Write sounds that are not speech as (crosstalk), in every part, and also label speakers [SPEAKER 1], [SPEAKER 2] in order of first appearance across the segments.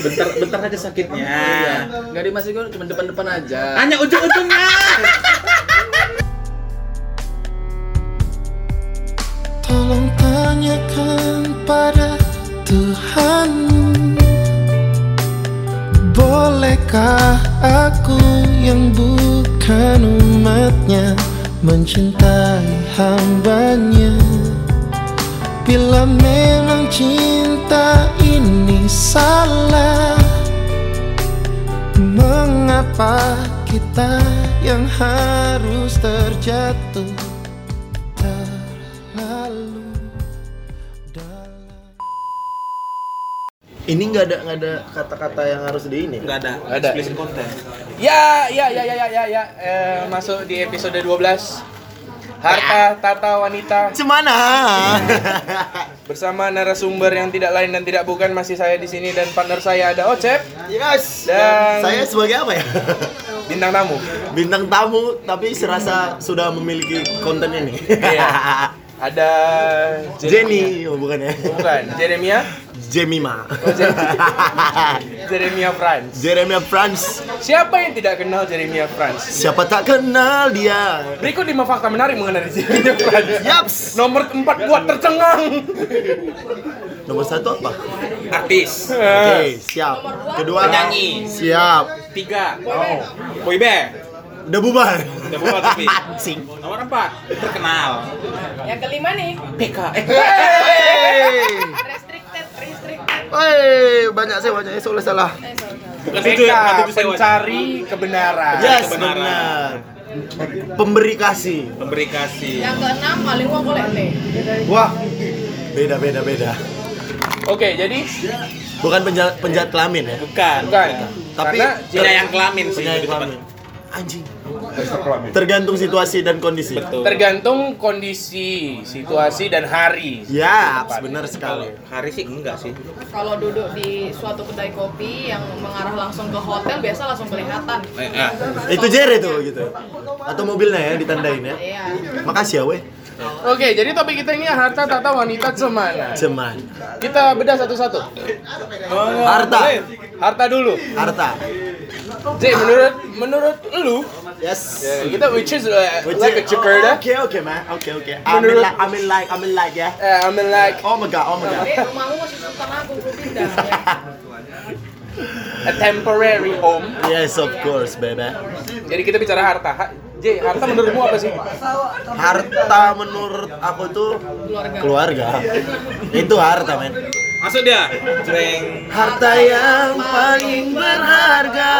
[SPEAKER 1] Bentar bentar aja sakitnya.
[SPEAKER 2] Enggak di masih gue cuma depan-depan aja.
[SPEAKER 1] Hanya ujung-ujungnya.
[SPEAKER 3] Tolong tanyakan pada Tuhanmu Bolehkah aku yang bukan umatnya Mencintai hambanya Bila memang cinta ini salah Mengapa kita yang harus terjatuh Terlalu dalam
[SPEAKER 4] Ini nggak ada nggak ada kata-kata yang harus di ini.
[SPEAKER 1] Enggak ada.
[SPEAKER 2] Nggak ada.
[SPEAKER 1] Explicit content.
[SPEAKER 2] Ya, ya, ya, ya, ya, ya, ya. Eh, masuk di episode 12. Harta Tata Wanita
[SPEAKER 1] (laughs)
[SPEAKER 4] Cemana?
[SPEAKER 2] bersama narasumber yang tidak lain dan tidak bukan masih saya di sini dan partner saya ada Ocep
[SPEAKER 4] yes.
[SPEAKER 2] Dan-
[SPEAKER 4] Saya sebagai apa ya? (laughs)
[SPEAKER 2] bintang tamu.
[SPEAKER 4] Bintang tamu tapi serasa sudah memiliki konten ini.
[SPEAKER 2] Iya. Ada
[SPEAKER 4] (laughs) Jenny, oh, bukan ya?
[SPEAKER 2] Bukan, Jeremia,
[SPEAKER 4] Jemima.
[SPEAKER 2] Oh, Jem-
[SPEAKER 4] (laughs)
[SPEAKER 2] Jeremia Franz.
[SPEAKER 4] Jeremia Franz.
[SPEAKER 2] Siapa yang tidak kenal Jeremia Franz?
[SPEAKER 4] Siapa tak kenal dia?
[SPEAKER 2] Berikut 5 fakta menarik mengenai Jeremia Franz.
[SPEAKER 4] Yaps.
[SPEAKER 2] Nomor 4 buat tercengang.
[SPEAKER 4] Nomor satu apa?
[SPEAKER 1] Artis.
[SPEAKER 4] Oke,
[SPEAKER 2] Eh.
[SPEAKER 4] siap. Kedua
[SPEAKER 1] Penyanyi.
[SPEAKER 4] Siap.
[SPEAKER 1] Tiga. Oh. Boyband.
[SPEAKER 4] Udah bubar.
[SPEAKER 1] Udah bubar, tapi.
[SPEAKER 4] (laughs) Anjing.
[SPEAKER 1] Nomor empat. Terkenal.
[SPEAKER 5] Yang kelima nih,
[SPEAKER 2] Eh.
[SPEAKER 4] Hey.
[SPEAKER 5] restricted, restricted.
[SPEAKER 4] Hey, banyak saya banyak saya soalnya salah.
[SPEAKER 5] Eh, sorry, sorry.
[SPEAKER 1] Bukan
[SPEAKER 2] BK,
[SPEAKER 1] tujuh ya, bukan tujuh sewa.
[SPEAKER 2] pencari kebenaran.
[SPEAKER 4] Yes,
[SPEAKER 1] kebenaran.
[SPEAKER 4] benar. Pemberi kasih.
[SPEAKER 1] Pemberi kasih.
[SPEAKER 5] Yang keenam maling uang kolekte.
[SPEAKER 4] Wah. Beda beda beda.
[SPEAKER 2] Oke, jadi
[SPEAKER 4] Bukan penjahat penjahat kelamin ya.
[SPEAKER 1] Bukan.
[SPEAKER 2] bukan.
[SPEAKER 4] Tapi-
[SPEAKER 2] Karena
[SPEAKER 1] Tidak yang kelamin sih.
[SPEAKER 4] Penjahat
[SPEAKER 1] lebih tepat.
[SPEAKER 4] kelamin. Anjing. Tergantung situasi dan kondisi.
[SPEAKER 1] Betul.
[SPEAKER 2] tergantung kondisi, situasi dan hari.
[SPEAKER 4] Ya, benar sekali.
[SPEAKER 1] Hari sih enggak sih.
[SPEAKER 5] Kalau duduk di suatu kedai kopi yang mengarah langsung ke hotel biasa langsung kelihatan.
[SPEAKER 1] Eh, eh.
[SPEAKER 4] Itu Jere tuh gitu. Atau mobilnya ya ditandain ya.
[SPEAKER 5] Iya.
[SPEAKER 4] Makasih ya, weh.
[SPEAKER 2] Oke, jadi topik kita ini harta tata wanita cemana.
[SPEAKER 4] Cuman
[SPEAKER 2] Kita bedah satu-satu.
[SPEAKER 1] Oh,
[SPEAKER 4] harta,
[SPEAKER 2] Harta dulu.
[SPEAKER 4] harta.
[SPEAKER 2] J, menurut menurut lu,
[SPEAKER 4] Yes.
[SPEAKER 2] kita which is uh, like a Jakarta.
[SPEAKER 4] Oke, oke, man. Oke, oke. Amin
[SPEAKER 2] Menurut-
[SPEAKER 4] like, amin like, amin like ya.
[SPEAKER 2] Eh, I mean like
[SPEAKER 4] Oh my god, oh my god. (laughs)
[SPEAKER 5] Eh, rumahmu masih sultan aku, gue pindah. Ya.
[SPEAKER 2] a temporary home.
[SPEAKER 4] Yes, of course, baby.
[SPEAKER 2] Jadi kita bicara harta. Ha- J, harta menurutmu apa sih?
[SPEAKER 4] Harta menurut aku tuh
[SPEAKER 5] Keluarga.
[SPEAKER 4] keluarga. Itu harta, men.
[SPEAKER 1] Masuk dia. Jreng.
[SPEAKER 4] Harta yang paling berharga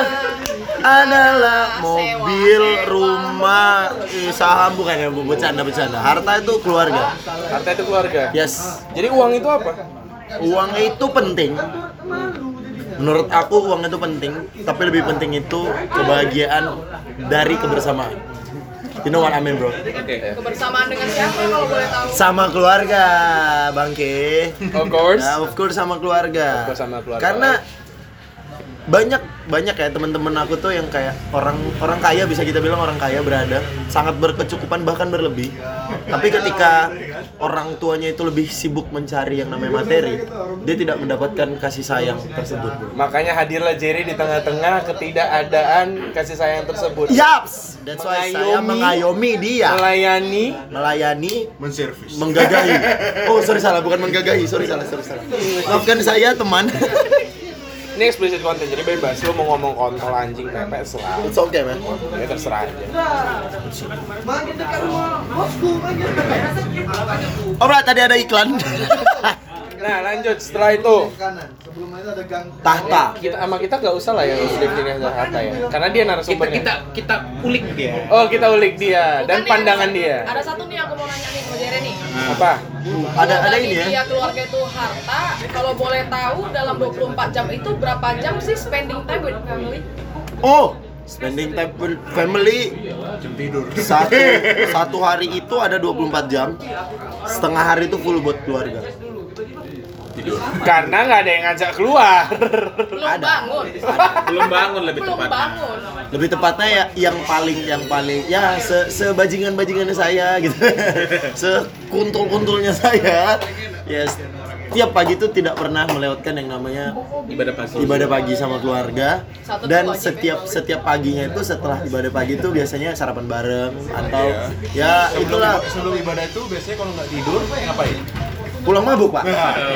[SPEAKER 4] adalah mobil, rumah, eh, saham bukan ya, Bu? bercanda bercanda. Harta itu keluarga.
[SPEAKER 2] Harta itu keluarga.
[SPEAKER 4] Yes.
[SPEAKER 2] Jadi uang itu apa?
[SPEAKER 4] Uang itu penting. Menurut aku uang itu penting, tapi lebih penting itu kebahagiaan dari kebersamaan. You know what I mean, bro?
[SPEAKER 1] Oke.
[SPEAKER 5] Kebersamaan dengan siapa kalau boleh tahu?
[SPEAKER 4] Sama keluarga, Bangke.
[SPEAKER 2] Of course.
[SPEAKER 4] Nah, of course sama keluarga.
[SPEAKER 2] course sama keluarga.
[SPEAKER 4] Karena banyak banyak ya teman-teman aku tuh yang kayak orang orang kaya bisa kita bilang orang kaya berada sangat berkecukupan bahkan berlebih. Tapi ketika orang tuanya itu lebih sibuk mencari yang namanya materi, dia tidak mendapatkan kasih sayang tersebut.
[SPEAKER 2] Makanya hadirlah Jerry di tengah-tengah ketidakadaan kasih sayang tersebut.
[SPEAKER 4] Yaps, that's why saya mengayomi dia.
[SPEAKER 2] Melayani
[SPEAKER 4] melayani, menservis, menggagahi. Oh, sorry salah, bukan menggagahi, sorry salah, sorry salah. Maafkan saya teman. (laughs)
[SPEAKER 2] ini explicit content jadi bebas lu mau ngomong kontol anjing pepes lah
[SPEAKER 4] It's okay, man.
[SPEAKER 2] ya terserah aja
[SPEAKER 4] Alright, Oh, tadi ada iklan.
[SPEAKER 2] nah lanjut setelah itu
[SPEAKER 4] (laughs) Tahta.
[SPEAKER 2] kita sama kita gak usah lah yang muslim ini harta ya karena dia
[SPEAKER 1] Kita
[SPEAKER 2] narasumbernya
[SPEAKER 1] kita kita ulik dia.
[SPEAKER 2] oh kita ulik dia
[SPEAKER 5] Bukan
[SPEAKER 2] dan
[SPEAKER 5] nih,
[SPEAKER 2] pandangan
[SPEAKER 5] ada-
[SPEAKER 2] dia
[SPEAKER 5] Ada satu nih aku mau nanya nih sama Jere nih.
[SPEAKER 2] apa
[SPEAKER 4] Ada
[SPEAKER 5] Kalau
[SPEAKER 4] ada
[SPEAKER 5] tadi
[SPEAKER 4] ini
[SPEAKER 5] Dia
[SPEAKER 4] ya.
[SPEAKER 5] keluarga itu harta. Kalau boleh tahu dalam 24 jam itu berapa jam sih spending time with family?
[SPEAKER 4] Oh, spending time with family (laughs) satu satu hari itu ada 24 jam. Setengah hari itu full buat keluarga.
[SPEAKER 2] karena nggak ada yang ngajak keluar
[SPEAKER 5] Belum
[SPEAKER 4] Ada.
[SPEAKER 5] bangun.
[SPEAKER 1] Belum bangun lebih
[SPEAKER 5] Belum
[SPEAKER 1] tepatnya.
[SPEAKER 5] bangun.
[SPEAKER 4] Lebih tepatnya ya yang paling yang paling ya se sebajingan (laughs) bajingannya saya gitu, sekuntul kuntulnya saya. Yes, tiap pagi itu tidak pernah melewatkan yang namanya
[SPEAKER 1] ibadah pagi
[SPEAKER 4] ibadah pagi sama keluarga
[SPEAKER 5] Satu
[SPEAKER 4] dan
[SPEAKER 5] tuh wajib
[SPEAKER 4] setiap setiap paginya itu setelah ibadah pagi itu biasanya sarapan bareng atau ya
[SPEAKER 1] Iya.
[SPEAKER 4] itulah
[SPEAKER 6] sebelum ibadah itu biasanya kalau nggak tidur ngapain?
[SPEAKER 4] pulang mabuk pak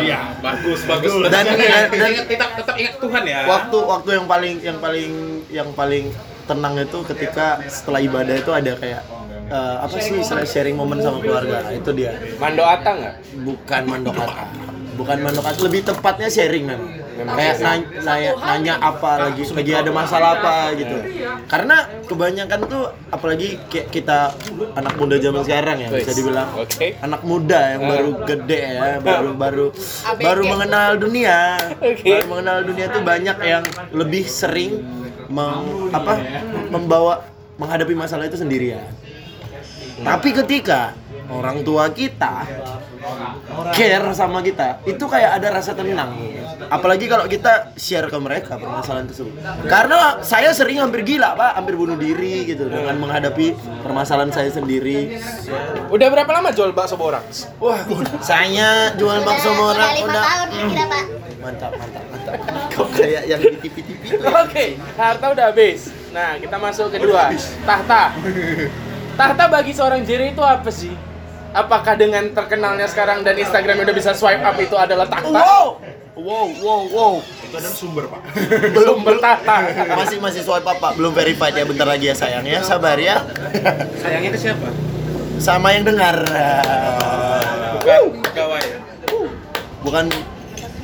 [SPEAKER 1] iya bagus bagus
[SPEAKER 4] Dan- dan-
[SPEAKER 1] Tetap ingat- tetap tetap ingat Tuhan ya
[SPEAKER 4] waktu waktu yang paling yang paling yang paling tenang itu ketika setelah ibadah itu ada kayak eh, apa sih istilahnya sharing momen sama keluarga itu dia
[SPEAKER 2] Mando Ata nggak?
[SPEAKER 4] bukan mandokata bukan mandokata lebih tepatnya sharing memang kayak nanya, nanya, nanya apa lagi lagi ada masalah apa gitu karena kebanyakan tuh apalagi kayak kita anak muda zaman sekarang ya bisa dibilang
[SPEAKER 2] Oke.
[SPEAKER 4] anak muda yang baru gede ya baru baru baru mengenal dunia baru mengenal dunia tuh banyak yang lebih sering meng- apa membawa menghadapi masalah itu sendirian tapi ketika orang tua kita care sama kita, itu kayak ada rasa tenang. Apalagi kalau kita share ke mereka permasalahan tersebut. Karena saya sering hampir gila, Pak, hampir bunuh diri gitu dengan menghadapi permasalahan saya sendiri.
[SPEAKER 2] Udah berapa lama jual bakso borang?
[SPEAKER 4] Wah, saya jual bakso
[SPEAKER 7] Sudah
[SPEAKER 4] morak
[SPEAKER 7] lima
[SPEAKER 4] udah
[SPEAKER 7] tahun kita pak
[SPEAKER 4] mantap, mantap, mantap. Kok kayak yang di TV-TV itu ya?
[SPEAKER 2] Oke, harta udah habis. Nah, kita masuk kedua, tahta. Tahta bagi seorang Jerry itu apa sih? Apakah dengan terkenalnya sekarang dan Instagram udah bisa swipe up itu adalah tahta?
[SPEAKER 4] Wow, wow, wow, wow.
[SPEAKER 6] Itu ada sumber pak.
[SPEAKER 2] Belum bertahta.
[SPEAKER 4] Masih masih swipe up, Pak. Belum verified ya, bentar lagi ya sayang ya. Sabar ya.
[SPEAKER 1] sayangnya itu siapa
[SPEAKER 4] Sama yang dengar.
[SPEAKER 1] bukan pegawai ya?
[SPEAKER 4] bukan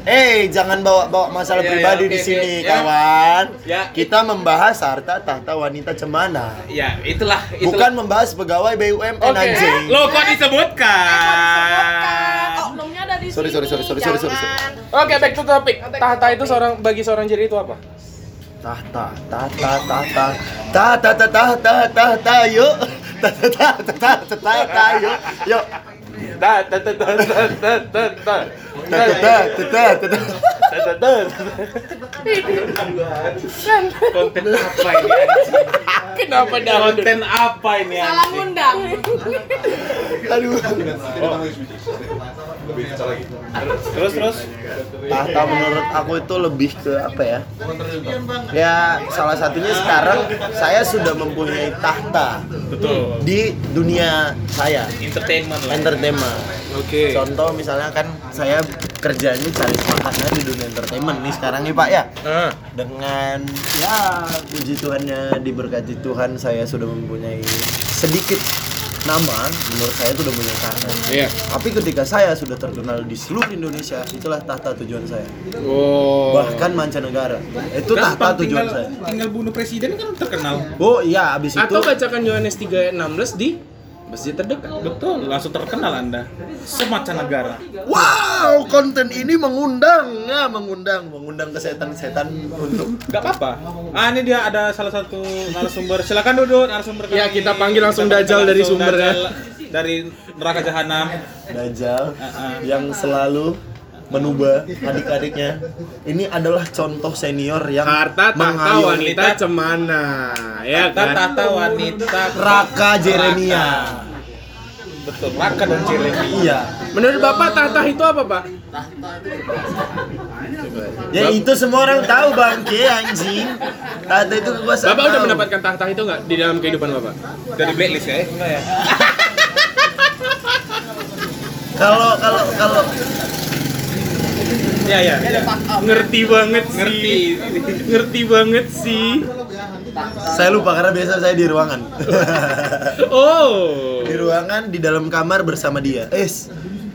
[SPEAKER 4] Eh, jangan bawa bawa masalah
[SPEAKER 1] Ya, ya,
[SPEAKER 4] pribadi
[SPEAKER 1] oke,
[SPEAKER 4] di
[SPEAKER 1] oke,
[SPEAKER 4] sini,
[SPEAKER 1] ya.
[SPEAKER 4] kawan.
[SPEAKER 1] Ya.
[SPEAKER 4] Kita membahas harta tahta wanita cemana.
[SPEAKER 1] ya itulah
[SPEAKER 4] Bukan
[SPEAKER 1] itulah
[SPEAKER 4] membahas pegawai BUMN
[SPEAKER 2] Oke.
[SPEAKER 4] anjing.
[SPEAKER 1] lo kok
[SPEAKER 5] disebutkan
[SPEAKER 1] disebutkan
[SPEAKER 5] oknumnya ada di sini
[SPEAKER 4] Sorry, sorry, sorry, sorry, sorry, sorry, sorry.
[SPEAKER 5] jangan.
[SPEAKER 2] Oke, back to topic. Tahta itu seorang bagi seorang Jerry itu apa?
[SPEAKER 4] Tahta, tahta, tahta. Tahta, tahta, tahta, tahta, yuk. Tahta, tahta, tahta, tahta, yuk. Yuk.
[SPEAKER 2] Ta- ta- ta- ta- ta- ta- ta- ta.
[SPEAKER 4] Tahta, tahta, tahta, tahta.
[SPEAKER 2] Ta- ta- ta-
[SPEAKER 1] konten apa ini
[SPEAKER 2] Kenapa dah?
[SPEAKER 1] konten apa ini
[SPEAKER 5] salah
[SPEAKER 1] anjing?
[SPEAKER 5] ngundang
[SPEAKER 4] Aduh.
[SPEAKER 1] terus terus
[SPEAKER 4] Tahta menurut aku itu lebih ke apa ya? Ya, salah satunya sekarang saya sudah mempunyai tahta
[SPEAKER 1] betul
[SPEAKER 4] di dunia saya.
[SPEAKER 1] entertainment lah
[SPEAKER 4] entertainment.
[SPEAKER 1] oke
[SPEAKER 4] Contoh misalnya kan saya kerjanya cari makannya di dunia entertainment nih sekarang nih Pak ya.
[SPEAKER 1] Ah,
[SPEAKER 4] Dengan ya puji Tuhannya diberkati Tuhan saya sudah mempunyai sedikit nama menurut saya itu udah punya tahta.
[SPEAKER 2] Iya.
[SPEAKER 4] Tapi ketika saya sudah terkenal di seluruh Indonesia, itulah tahta tujuan saya.
[SPEAKER 2] Oh.
[SPEAKER 4] Bahkan mancanegara. Itu
[SPEAKER 1] Kan
[SPEAKER 4] tahta
[SPEAKER 1] Bang,
[SPEAKER 4] tujuan
[SPEAKER 1] tinggal-
[SPEAKER 4] saya.
[SPEAKER 1] tinggal bunuh presiden kan terkenal
[SPEAKER 4] Oh iya, abis itu
[SPEAKER 2] Atau bacakan Yohanes 3:16 di masjid terdekat.
[SPEAKER 1] betul langsung terkenal anda semacam negara
[SPEAKER 4] wow konten ini mengundang ya mengundang mengundang kesetan-setan untuk
[SPEAKER 1] Gak apa-apa. Ah ini dia ada salah satu narasumber. Silakan duduk narasumber. kami.
[SPEAKER 2] Ya, kita panggil langsung
[SPEAKER 1] Kita panggil
[SPEAKER 2] Dajjal dari
[SPEAKER 1] langsung
[SPEAKER 2] sumber, ya.
[SPEAKER 1] Dajjal Dari neraka jahanam.
[SPEAKER 4] Dajjal
[SPEAKER 1] Uh-uh.
[SPEAKER 4] yang selalu menubah adik-adiknya. Ini adalah contoh senior yang
[SPEAKER 2] Harta tahta
[SPEAKER 4] mengayomi
[SPEAKER 2] wanita cemana, ya kan?
[SPEAKER 1] Tata tata wanita
[SPEAKER 4] Raka Jeremia.
[SPEAKER 1] betul raka dan Jeremy.
[SPEAKER 4] Iya.
[SPEAKER 2] Menurut Bapak tahta itu apa, Pak?
[SPEAKER 4] Ya itu semua orang tahu bangke anjing. Tata itu kekuasaan.
[SPEAKER 2] Bapak udah
[SPEAKER 4] tahu.
[SPEAKER 2] mendapatkan tahta itu nggak di dalam kehidupan Bapak?
[SPEAKER 1] Dari blacklist ya. eh? Enggak ya.
[SPEAKER 4] Kalau kalau kalau
[SPEAKER 1] Iya iya. iya.
[SPEAKER 2] Ngerti banget
[SPEAKER 1] Ngerti.
[SPEAKER 2] Ngerti banget sih.
[SPEAKER 4] saya lupa karena biasa saya di ruangan. (laughs)
[SPEAKER 2] Oh.
[SPEAKER 4] di ruangan di dalam kamar bersama dia. Es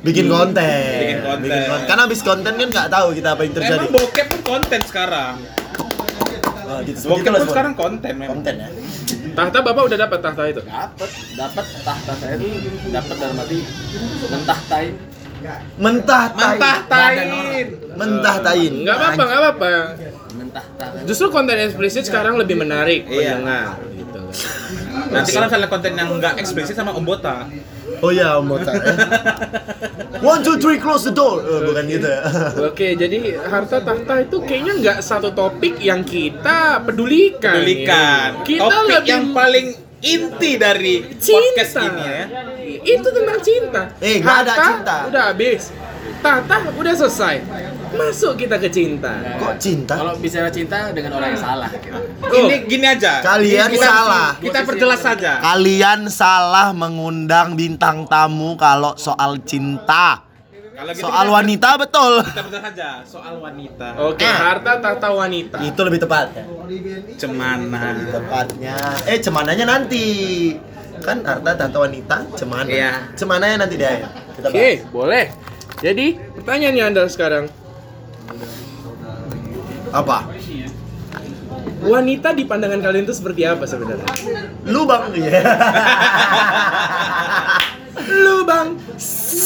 [SPEAKER 4] bikin konten.
[SPEAKER 1] Bikin konten.
[SPEAKER 4] konten. Karena abis konten kan nggak tahu kita apa yang terjadi.
[SPEAKER 1] Emang bokep pun konten sekarang.
[SPEAKER 4] Oh, gitu. Seperti
[SPEAKER 1] Bokep
[SPEAKER 4] itulah
[SPEAKER 1] pun
[SPEAKER 4] semua.
[SPEAKER 1] sekarang konten memang.
[SPEAKER 4] konten ya.
[SPEAKER 2] Tahta Bapak udah dapat tahta itu?
[SPEAKER 8] dapat dapat tahta saya tuh dapat dalam arti mentahtain
[SPEAKER 4] Mentah tai.
[SPEAKER 1] Mentahtain.
[SPEAKER 4] mentah tain.
[SPEAKER 2] Nggak apa-apa, nggak apa-apa.
[SPEAKER 8] mentahtain
[SPEAKER 2] Justru konten eksplisit sekarang lebih menarik
[SPEAKER 1] Iya.
[SPEAKER 2] pendengar gitu.
[SPEAKER 1] Nanti kalau misalnya konten yang enggak eksplisit sama Om Bota.
[SPEAKER 4] Oh iya, Om Botak. One, two, three, close the door. Eh, bukan gitu ya.
[SPEAKER 2] Oke, jadi harta tahta itu kayaknya nggak satu topik yang kita
[SPEAKER 1] iya,
[SPEAKER 2] pedulikan. ya.
[SPEAKER 1] Pedulikan.
[SPEAKER 2] Kita
[SPEAKER 1] Topik
[SPEAKER 2] lebih
[SPEAKER 1] yang paling inti dari
[SPEAKER 2] cinta.
[SPEAKER 1] podcast ini ya.
[SPEAKER 2] Itu tentang cinta.
[SPEAKER 4] Eh, nggak ada
[SPEAKER 2] Harta
[SPEAKER 4] cinta.
[SPEAKER 2] Udah habis. Tahta udah selesai. Masuk kita ke cinta.
[SPEAKER 4] Kok cinta?
[SPEAKER 8] Kalau bicara cinta dengan orang yang salah.
[SPEAKER 2] Oh.
[SPEAKER 1] Ini gini aja.
[SPEAKER 4] Kalian
[SPEAKER 1] Kita-
[SPEAKER 4] salah.
[SPEAKER 1] Kita perjelas saja.
[SPEAKER 4] Kalian salah mengundang bintang tamu kalau soal cinta.
[SPEAKER 1] Kalau gitu
[SPEAKER 4] Soal
[SPEAKER 1] kita-
[SPEAKER 4] wanita betul.
[SPEAKER 1] Kita perjelas saja soal wanita.
[SPEAKER 2] Oke,
[SPEAKER 4] Ah.
[SPEAKER 2] harta tahta wanita.
[SPEAKER 4] Itu lebih tepatnya.
[SPEAKER 1] Cemana?
[SPEAKER 4] Lebih tepatnya. Eh, cemananya nanti. Kan harta tata wanita, cemana.
[SPEAKER 2] Iya.
[SPEAKER 4] Cemananya nanti deh. ayo. Kita
[SPEAKER 2] Oke,
[SPEAKER 4] bahas.
[SPEAKER 2] boleh. Jadi, pertanyaannya Anda sekarang,
[SPEAKER 4] Apa?
[SPEAKER 2] wanita di pandangan kalian itu seperti apa sebenarnya?
[SPEAKER 4] Lu bang. Iya.
[SPEAKER 2] Lu, Bang.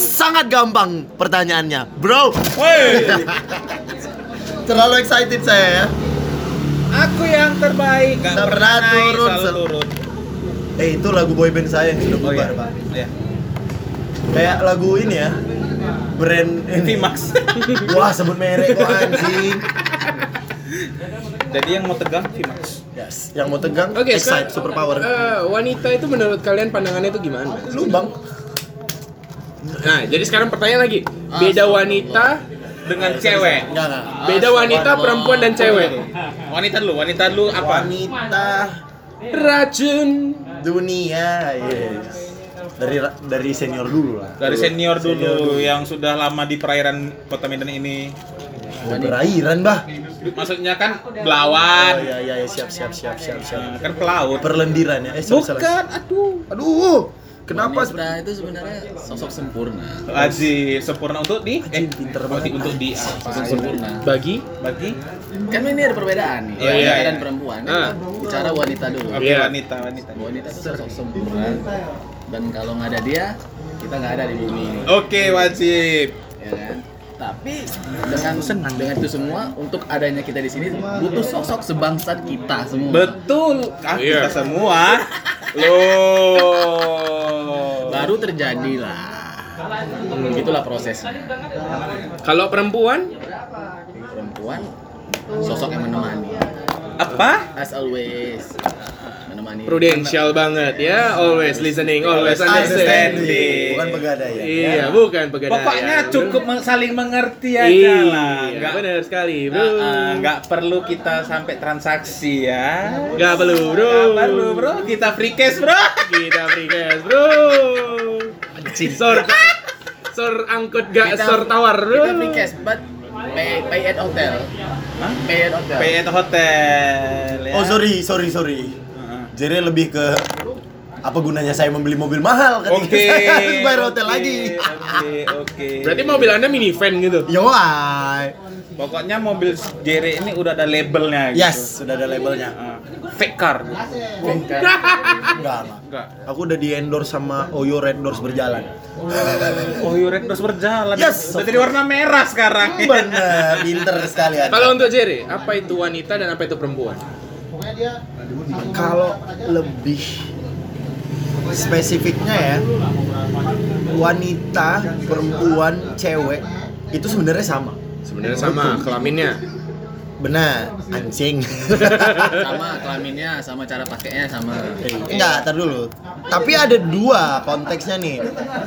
[SPEAKER 4] Sangat gampang pertanyaannya, bro.
[SPEAKER 1] Woi,
[SPEAKER 4] Terlalu excited saya ya.
[SPEAKER 1] aku yang terbaik. Gak
[SPEAKER 4] Tak pernah
[SPEAKER 1] naik,
[SPEAKER 4] turun,
[SPEAKER 1] selalu
[SPEAKER 4] sel-
[SPEAKER 1] turun.
[SPEAKER 4] Eh itu lagu boyband saya yang sudah
[SPEAKER 1] Oh iya.
[SPEAKER 4] bubar pak.
[SPEAKER 1] Iya.
[SPEAKER 4] Kayak lagu ini ya. Brand ini. (laughs)
[SPEAKER 1] Vimax.
[SPEAKER 4] Wah sebut merek kok anjing.
[SPEAKER 1] Jadi yang mau tegang Vimax.
[SPEAKER 4] Yes. Yang mau tegang,
[SPEAKER 2] Oke, sekarang,
[SPEAKER 4] excite, super power.
[SPEAKER 2] eh, wanita itu menurut kalian pandangannya itu gimana?
[SPEAKER 4] Lubang.
[SPEAKER 2] Nah, jadi sekarang pertanyaan lagi. Beda wanita,
[SPEAKER 1] Dengan cewek.
[SPEAKER 4] Enggak enggak.
[SPEAKER 2] beda wanita perempuan dan cewek.
[SPEAKER 1] Wanita dulu, wanita dulu apa?
[SPEAKER 4] Wanita
[SPEAKER 2] Racun.
[SPEAKER 4] dunia. Yes. Dari ra- dari senior dulu lah.
[SPEAKER 1] Dari
[SPEAKER 4] Senior
[SPEAKER 1] senior dulu yang sudah lama di perairan Kota Medan ini.
[SPEAKER 4] Mau berairan bah.
[SPEAKER 1] Maksudnya kan
[SPEAKER 4] Oh
[SPEAKER 1] belawan.
[SPEAKER 4] iya iya iya. siap siap siap siap siap.
[SPEAKER 1] Nah, Kan pelaut.
[SPEAKER 4] Perlendiran ya. Eh sorry, sorry.
[SPEAKER 1] Bukan, aduh.
[SPEAKER 4] Aduh. Kenapa?
[SPEAKER 8] Wanita itu sebenarnya sosok sempurna.
[SPEAKER 1] Lazim sempurna untuk di eh
[SPEAKER 4] Anjing, pinter
[SPEAKER 1] untuk di-
[SPEAKER 4] banget.
[SPEAKER 1] untuk di
[SPEAKER 8] Sosok sempurna.
[SPEAKER 2] Bagi
[SPEAKER 1] bagi
[SPEAKER 8] Kan ini ada perbedaan nih.
[SPEAKER 1] Iya,
[SPEAKER 8] wanita
[SPEAKER 1] iya,
[SPEAKER 8] dan
[SPEAKER 1] iya.
[SPEAKER 8] perempuan.
[SPEAKER 2] Ah.
[SPEAKER 8] Bicara wanita dulu.
[SPEAKER 1] Oke,
[SPEAKER 2] Iya.
[SPEAKER 1] wanita wanita.
[SPEAKER 8] Wanita itu sosok sempurna. Dan kalau nggak ada dia, kita nggak ada di bumi ini.
[SPEAKER 1] Oke, wajib.
[SPEAKER 8] ya kan? Tapi dengan dengan itu semua untuk adanya kita di sini butuh sosok sebangsat kita semua.
[SPEAKER 1] Betul. Ah,
[SPEAKER 2] Iya.
[SPEAKER 1] kita semua. Loh.
[SPEAKER 8] Baru terjadilah. Begitulah prosesnya.
[SPEAKER 2] kalau perempuan
[SPEAKER 8] Perempuan sosok yang menemani.
[SPEAKER 1] Apa?
[SPEAKER 8] As always menemani.
[SPEAKER 2] prudensial banget ya, always listening, always understanding.
[SPEAKER 1] Understanding.
[SPEAKER 4] Bukan pegadaian.
[SPEAKER 2] Iya, bukan pegadaian.
[SPEAKER 1] Pokoknya cukup men- saling mengerti aja
[SPEAKER 2] Iya,
[SPEAKER 1] lah.
[SPEAKER 2] nggak
[SPEAKER 1] Nggak-
[SPEAKER 2] benar sekali, bro.
[SPEAKER 1] Nah, eh, nggak perlu kita sampai transaksi ya.
[SPEAKER 2] Nggak perlu, bro.
[SPEAKER 1] Nggak perlu, bro. Kita free cash, bro.
[SPEAKER 2] Kita free cash, bro. Sor, sor angkut gak
[SPEAKER 8] Kita-
[SPEAKER 2] sor tawar, bro.
[SPEAKER 8] Kita free cash, but pay, pay at hotel.
[SPEAKER 1] Hah?
[SPEAKER 8] Pay at hotel.
[SPEAKER 1] Pay at hotel. Ya.
[SPEAKER 4] Oh sorry sorry sorry.
[SPEAKER 1] Heeh.
[SPEAKER 4] Jadi lebih ke apa gunanya saya membeli mobil mahal ketika
[SPEAKER 1] Oke.
[SPEAKER 4] saya harus (laughs) bayar hotel
[SPEAKER 1] oke,
[SPEAKER 4] lagi.
[SPEAKER 1] Oke, oke.
[SPEAKER 2] Berarti mobil anda minivan gitu.
[SPEAKER 4] Yo, ay.
[SPEAKER 1] Pokoknya mobil JR ini udah ada labelnya gitu.
[SPEAKER 4] yes, sudah ada labelnya.
[SPEAKER 1] Ah, fake car.
[SPEAKER 4] Enggak, Mak.
[SPEAKER 1] Enggak.
[SPEAKER 4] aku udah di endorse sama Oyo Red Doors berjalan.
[SPEAKER 1] Oh, Yuret terus berjalan.
[SPEAKER 4] Yes.
[SPEAKER 1] Udah jadi warna merah sekarang.
[SPEAKER 4] Bener, pinter sekali Anda.
[SPEAKER 2] Kalau untuk Jerry, apa itu wanita dan apa itu perempuan?
[SPEAKER 4] kalau lebih spesifiknya ya wanita, perempuan, cewek itu sebenarnya sama.
[SPEAKER 2] Sebenarnya sama kelaminnya.
[SPEAKER 4] Benar, anjing. (laughs)
[SPEAKER 8] sama kelaminnya, sama cara pakainya, sama.
[SPEAKER 4] Enggak, tar dulu. Tapi ada dua konteksnya nih.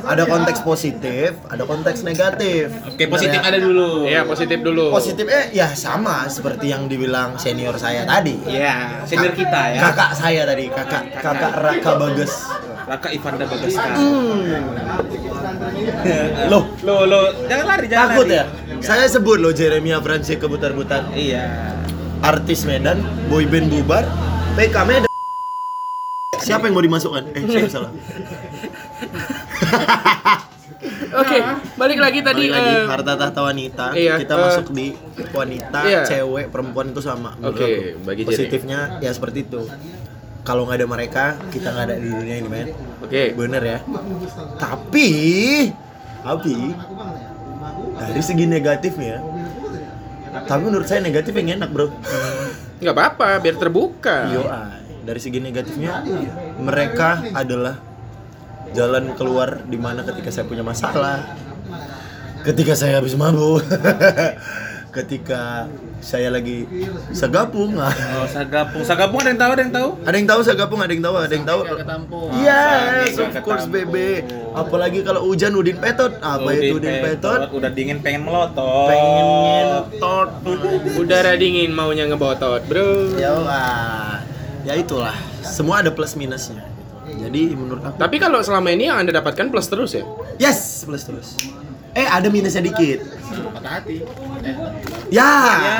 [SPEAKER 4] Ada konteks positif, ada konteks negatif.
[SPEAKER 1] Oke, ya. positif
[SPEAKER 4] Sebenarnya
[SPEAKER 1] ada dulu.
[SPEAKER 2] Iya, positif dulu.
[SPEAKER 4] Positif eh ya sama seperti yang dibilang senior saya tadi.
[SPEAKER 1] Iya, senior kita ya.
[SPEAKER 4] Kakak saya tadi, kakak kakak Raka Bagus.
[SPEAKER 1] Raka Ivanda Bagaskar.
[SPEAKER 4] Loh,
[SPEAKER 1] Lo lo jangan lari, jangan
[SPEAKER 4] takut
[SPEAKER 1] lari.
[SPEAKER 4] ya? Saya sebut loh Jeremia Francis kebutar-butar.
[SPEAKER 1] Iya.
[SPEAKER 4] Artis Medan, boyband bubar, PK Medan. Siapa yang mau dimasukkan? Eh, saya salah.
[SPEAKER 2] (laughs) Oke, balik lagi tadi.
[SPEAKER 4] Balik lagi
[SPEAKER 2] eh,
[SPEAKER 4] harta tahta wanita
[SPEAKER 2] iya,
[SPEAKER 4] kita
[SPEAKER 2] eh,
[SPEAKER 4] masuk di wanita
[SPEAKER 2] iya.
[SPEAKER 4] cewek perempuan itu sama menurut
[SPEAKER 2] Oke,
[SPEAKER 4] aku.
[SPEAKER 2] bagi Jerry.
[SPEAKER 4] positifnya ya seperti itu kalau nggak ada mereka kita nggak ada di dunia ini men
[SPEAKER 2] Oke.
[SPEAKER 4] bener ya tapi tapi dari segi negatifnya tapi menurut saya negatif yang enak bro
[SPEAKER 2] Nggak apa-apa,
[SPEAKER 8] Ah,
[SPEAKER 2] biar terbuka.
[SPEAKER 4] Yo, ay. dari segi negatifnya mereka adalah jalan keluar di mana ketika saya punya masalah, ketika saya habis mabuk, (laughs) ketika saya lagi segapung ah.
[SPEAKER 1] Oh, sagapung. Sagapung ada yang tahu, ada yang tahu?
[SPEAKER 4] ada yang tahu segapung ada yang tahu ada yang tahu
[SPEAKER 8] Nggak ketampung.
[SPEAKER 4] Yes,
[SPEAKER 1] Saking
[SPEAKER 4] of course
[SPEAKER 1] ketampung.
[SPEAKER 4] bebe. Apalagi kalau hujan udin petot. Apa itu udin petot?
[SPEAKER 1] Udah dingin pengen melotot.
[SPEAKER 4] Pengen tot.
[SPEAKER 2] Udara dingin maunya ngebotot, bro.
[SPEAKER 4] Ya wah. Ya itulah. Semua ada plus minusnya. Jadi menurut aku
[SPEAKER 2] Tapi kalau selama ini yang anda dapatkan plus terus ya?
[SPEAKER 4] yes plus terus. Eh ada minusnya dikit.
[SPEAKER 8] Patah hati. Eh,
[SPEAKER 4] Ya.
[SPEAKER 1] Ya.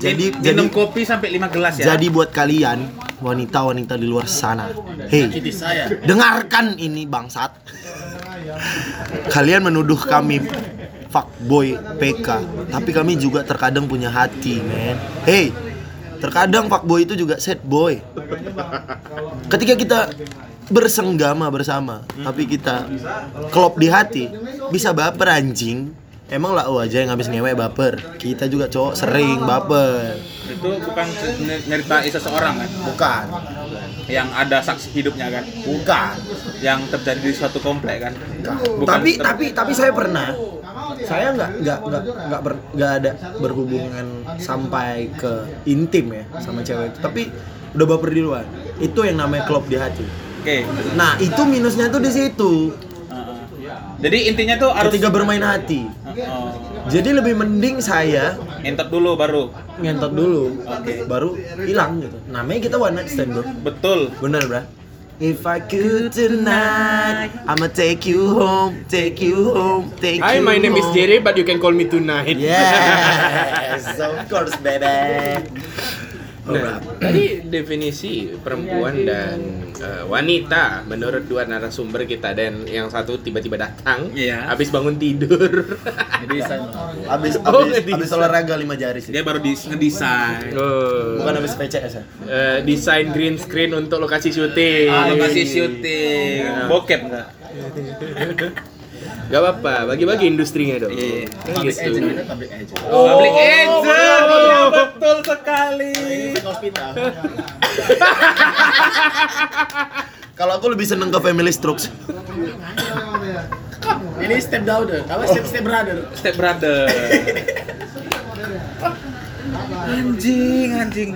[SPEAKER 4] Jadi-
[SPEAKER 1] minum
[SPEAKER 4] jadi-
[SPEAKER 1] kopi sampai 5 gelas ya.
[SPEAKER 4] Jadi buat kalian wanita-wanita di luar sana. Hey,
[SPEAKER 8] Itu saya.
[SPEAKER 4] dengarkan ini bangsat. Kalian menuduh kami fuckboy PK, tapi kami juga terkadang punya hati, men. Hey, terkadang fuckboy itu juga sad boy. Ketika kita bersenggama bersama, tapi kita klop di hati, bisa baper anjing. Emang lah oh aja yang habis ngewe baper. Kita juga cowok sering baper.
[SPEAKER 1] itu bukan cer- nyeritain seseorang kan
[SPEAKER 4] Bukan,
[SPEAKER 1] yang ada saksi hidupnya kan
[SPEAKER 4] bukan.
[SPEAKER 1] yang terjadi di suatu komplek kan Bukan
[SPEAKER 4] tapi
[SPEAKER 1] ter-
[SPEAKER 4] tapi tapi saya pernah saya nggak nggak nggak nggak ber- nggak ada berhubungan sampai ke intim ya sama cewek itu tapi udah baper di luar itu yang namanya klop di hati
[SPEAKER 1] oke
[SPEAKER 4] nah itu minusnya tuh di situ
[SPEAKER 1] Heeh. jadi intinya tuh harus
[SPEAKER 4] ketika bermain hati
[SPEAKER 1] Heeh.
[SPEAKER 4] jadi lebih mending saya
[SPEAKER 1] entot dulu baru
[SPEAKER 4] ngentot dulu
[SPEAKER 1] Oke.
[SPEAKER 4] baru hilang gitu namanya kita one night stand bro
[SPEAKER 1] betul
[SPEAKER 4] bener bro If I could tonight, I'ma take you home, take you home, take
[SPEAKER 2] Hi,
[SPEAKER 4] you
[SPEAKER 2] my name is
[SPEAKER 4] home.
[SPEAKER 2] Jerry, but you can call me tonight. (laughs)
[SPEAKER 4] Yes, of course, baby. Oh,
[SPEAKER 2] Nah, tadi definisi perempuan dan eh, wanita menurut dua narasumber kita dan yang satu tiba-tiba datang
[SPEAKER 1] Iya.
[SPEAKER 2] habis bangun tidur. (laughs)
[SPEAKER 8] Jadi saya mengaku.
[SPEAKER 4] Abis
[SPEAKER 2] Oh,
[SPEAKER 4] abis
[SPEAKER 2] nggak
[SPEAKER 4] abis
[SPEAKER 2] bisa.
[SPEAKER 4] olahraga lima jari sih.
[SPEAKER 1] dia baru dis ngedesain
[SPEAKER 4] Iya.
[SPEAKER 2] Oh.
[SPEAKER 4] Bukan abis PCS ya.
[SPEAKER 2] Eh, desain green screen untuk lokasi syuting.
[SPEAKER 1] Ah, lokasi syuting
[SPEAKER 4] Iya.
[SPEAKER 1] bokep enggak
[SPEAKER 2] Gak apa-apa, bagi-bagi industrinya dong.
[SPEAKER 1] Iya.
[SPEAKER 2] Kan
[SPEAKER 8] Public
[SPEAKER 2] gitu.
[SPEAKER 8] agent
[SPEAKER 4] ya,
[SPEAKER 8] kita public agent.
[SPEAKER 4] Oh.
[SPEAKER 1] public agent betul sekali
[SPEAKER 8] Hospital.
[SPEAKER 4] Kalau aku lebih seneng ke family strokes.
[SPEAKER 8] Ini step daughter, apa step step brother?
[SPEAKER 1] step brother anjing anjing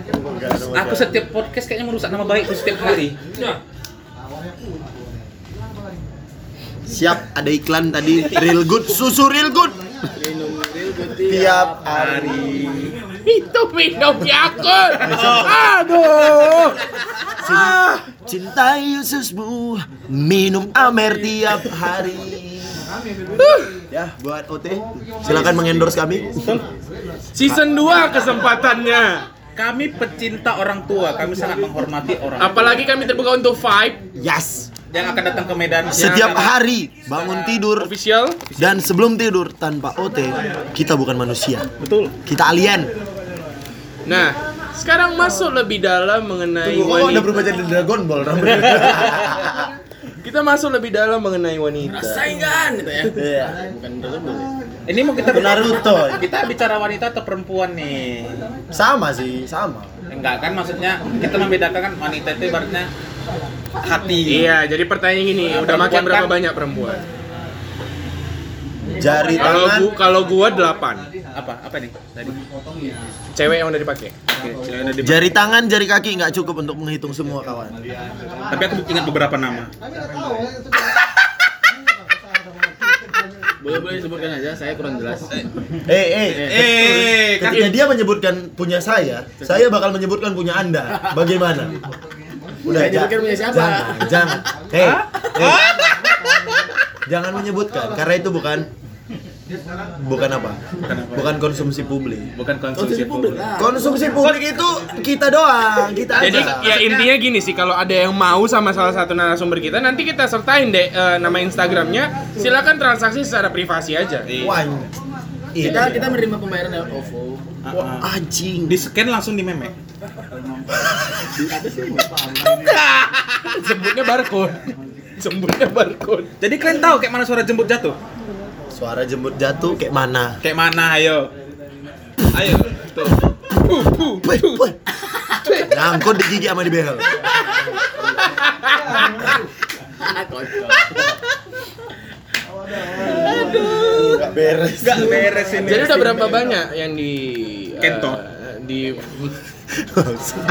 [SPEAKER 1] aku setiap podcast kayaknya merusak nama baik tuh setiap hari
[SPEAKER 4] Siap, ada iklan tadi. Real good, susu real good. Tiap hari.
[SPEAKER 2] Itu minum ya, Yakult. Aduh. Ah.
[SPEAKER 4] Cintai Yesusmu, minum Amer tiap hari. Ya, buat OT, silakan mengendorse kami.
[SPEAKER 2] Season 2 kesempatannya.
[SPEAKER 1] kami pecinta orang tua kami sangat menghormati orang
[SPEAKER 2] Apalagi kami terbuka untuk vibe
[SPEAKER 4] Yes,
[SPEAKER 1] yang akan datang ke Medan
[SPEAKER 2] Ya.
[SPEAKER 4] setiap hari bangun tidur
[SPEAKER 2] official.
[SPEAKER 4] Dan sebelum tidur tanpa OT, kita bukan manusia.
[SPEAKER 1] betul
[SPEAKER 4] Kita alien.
[SPEAKER 2] Nah, sekarang masuk lebih dalam mengenai wanita.
[SPEAKER 4] jadi Dragon Ball
[SPEAKER 2] Kita masuk lebih dalam mengenai wanita.
[SPEAKER 8] Saingan gitu ya.
[SPEAKER 4] Iya.
[SPEAKER 8] Bukan Dragon Ball. ya.
[SPEAKER 1] ini mau kita
[SPEAKER 4] Naruto.
[SPEAKER 1] kita bicara wanita atau perempuan nih
[SPEAKER 4] Sama sih, sama.
[SPEAKER 1] enggak kan maksudnya kita membedakan kan wanita itu ibaratnya hati
[SPEAKER 2] Iya, jadi pertanyaan gini, udah
[SPEAKER 1] Perempuan
[SPEAKER 2] makan berapa
[SPEAKER 1] kan?
[SPEAKER 2] banyak perempuan?
[SPEAKER 4] Jari
[SPEAKER 2] Kalau
[SPEAKER 4] tangan.
[SPEAKER 2] gua kalau gua 8.
[SPEAKER 1] apa apa nih tadi
[SPEAKER 2] Cewek yang udah dipakai.
[SPEAKER 1] Oke, cewek yang ada di-
[SPEAKER 4] Jari tangan, jari kaki nggak cukup untuk menghitung semua kawan.
[SPEAKER 1] tapi aku ingat beberapa nama
[SPEAKER 8] Boleh boleh sebutkan aja, saya kurang jelas.
[SPEAKER 4] Eh, eh,
[SPEAKER 1] eh kan
[SPEAKER 4] Ketika dia menyebutkan punya saya, saya bakal menyebutkan punya anda. Bagaimana? Udah,
[SPEAKER 8] Saya nyebutkan
[SPEAKER 4] ja-
[SPEAKER 8] punya siapa?
[SPEAKER 4] Jangan, jangan. Hei, hei. jangan menyebutkan, karena itu bukan bukan apa? Bukan konsumsi publik.
[SPEAKER 1] bukan
[SPEAKER 8] Oh,
[SPEAKER 1] konsumsi publik
[SPEAKER 4] Konsumsi publik itu kita doang, kita
[SPEAKER 2] Jadi
[SPEAKER 4] aja.
[SPEAKER 2] ya intinya gini sih, kalau ada yang mau sama salah satu narasumber kita, nanti kita sertain deh eh, nama Instagramnya. Silakan transaksi secara privasi aja.
[SPEAKER 4] Wah, ini
[SPEAKER 8] Kita kita menerima pembayaran lewat OVO.
[SPEAKER 2] Ah,
[SPEAKER 4] Wah, anjing.
[SPEAKER 1] di scan langsung di meme
[SPEAKER 2] Sebutnya barcode. (laughs) Sebutnya barcode.
[SPEAKER 1] jadi kalian tahu kayak mana suara jembut jatuh
[SPEAKER 4] Suara jembut jatuh kayak mana?
[SPEAKER 1] kayak mana ayo ayo tuh Puh, puh.
[SPEAKER 4] Weh, weh. Nyangkut di gigi sama di behel.
[SPEAKER 8] Kocok.
[SPEAKER 4] Nggak beres.
[SPEAKER 1] Gak beres ini.
[SPEAKER 2] Jadi udah berapa banyak yang di eh,
[SPEAKER 1] Iya Kentot.
[SPEAKER 2] di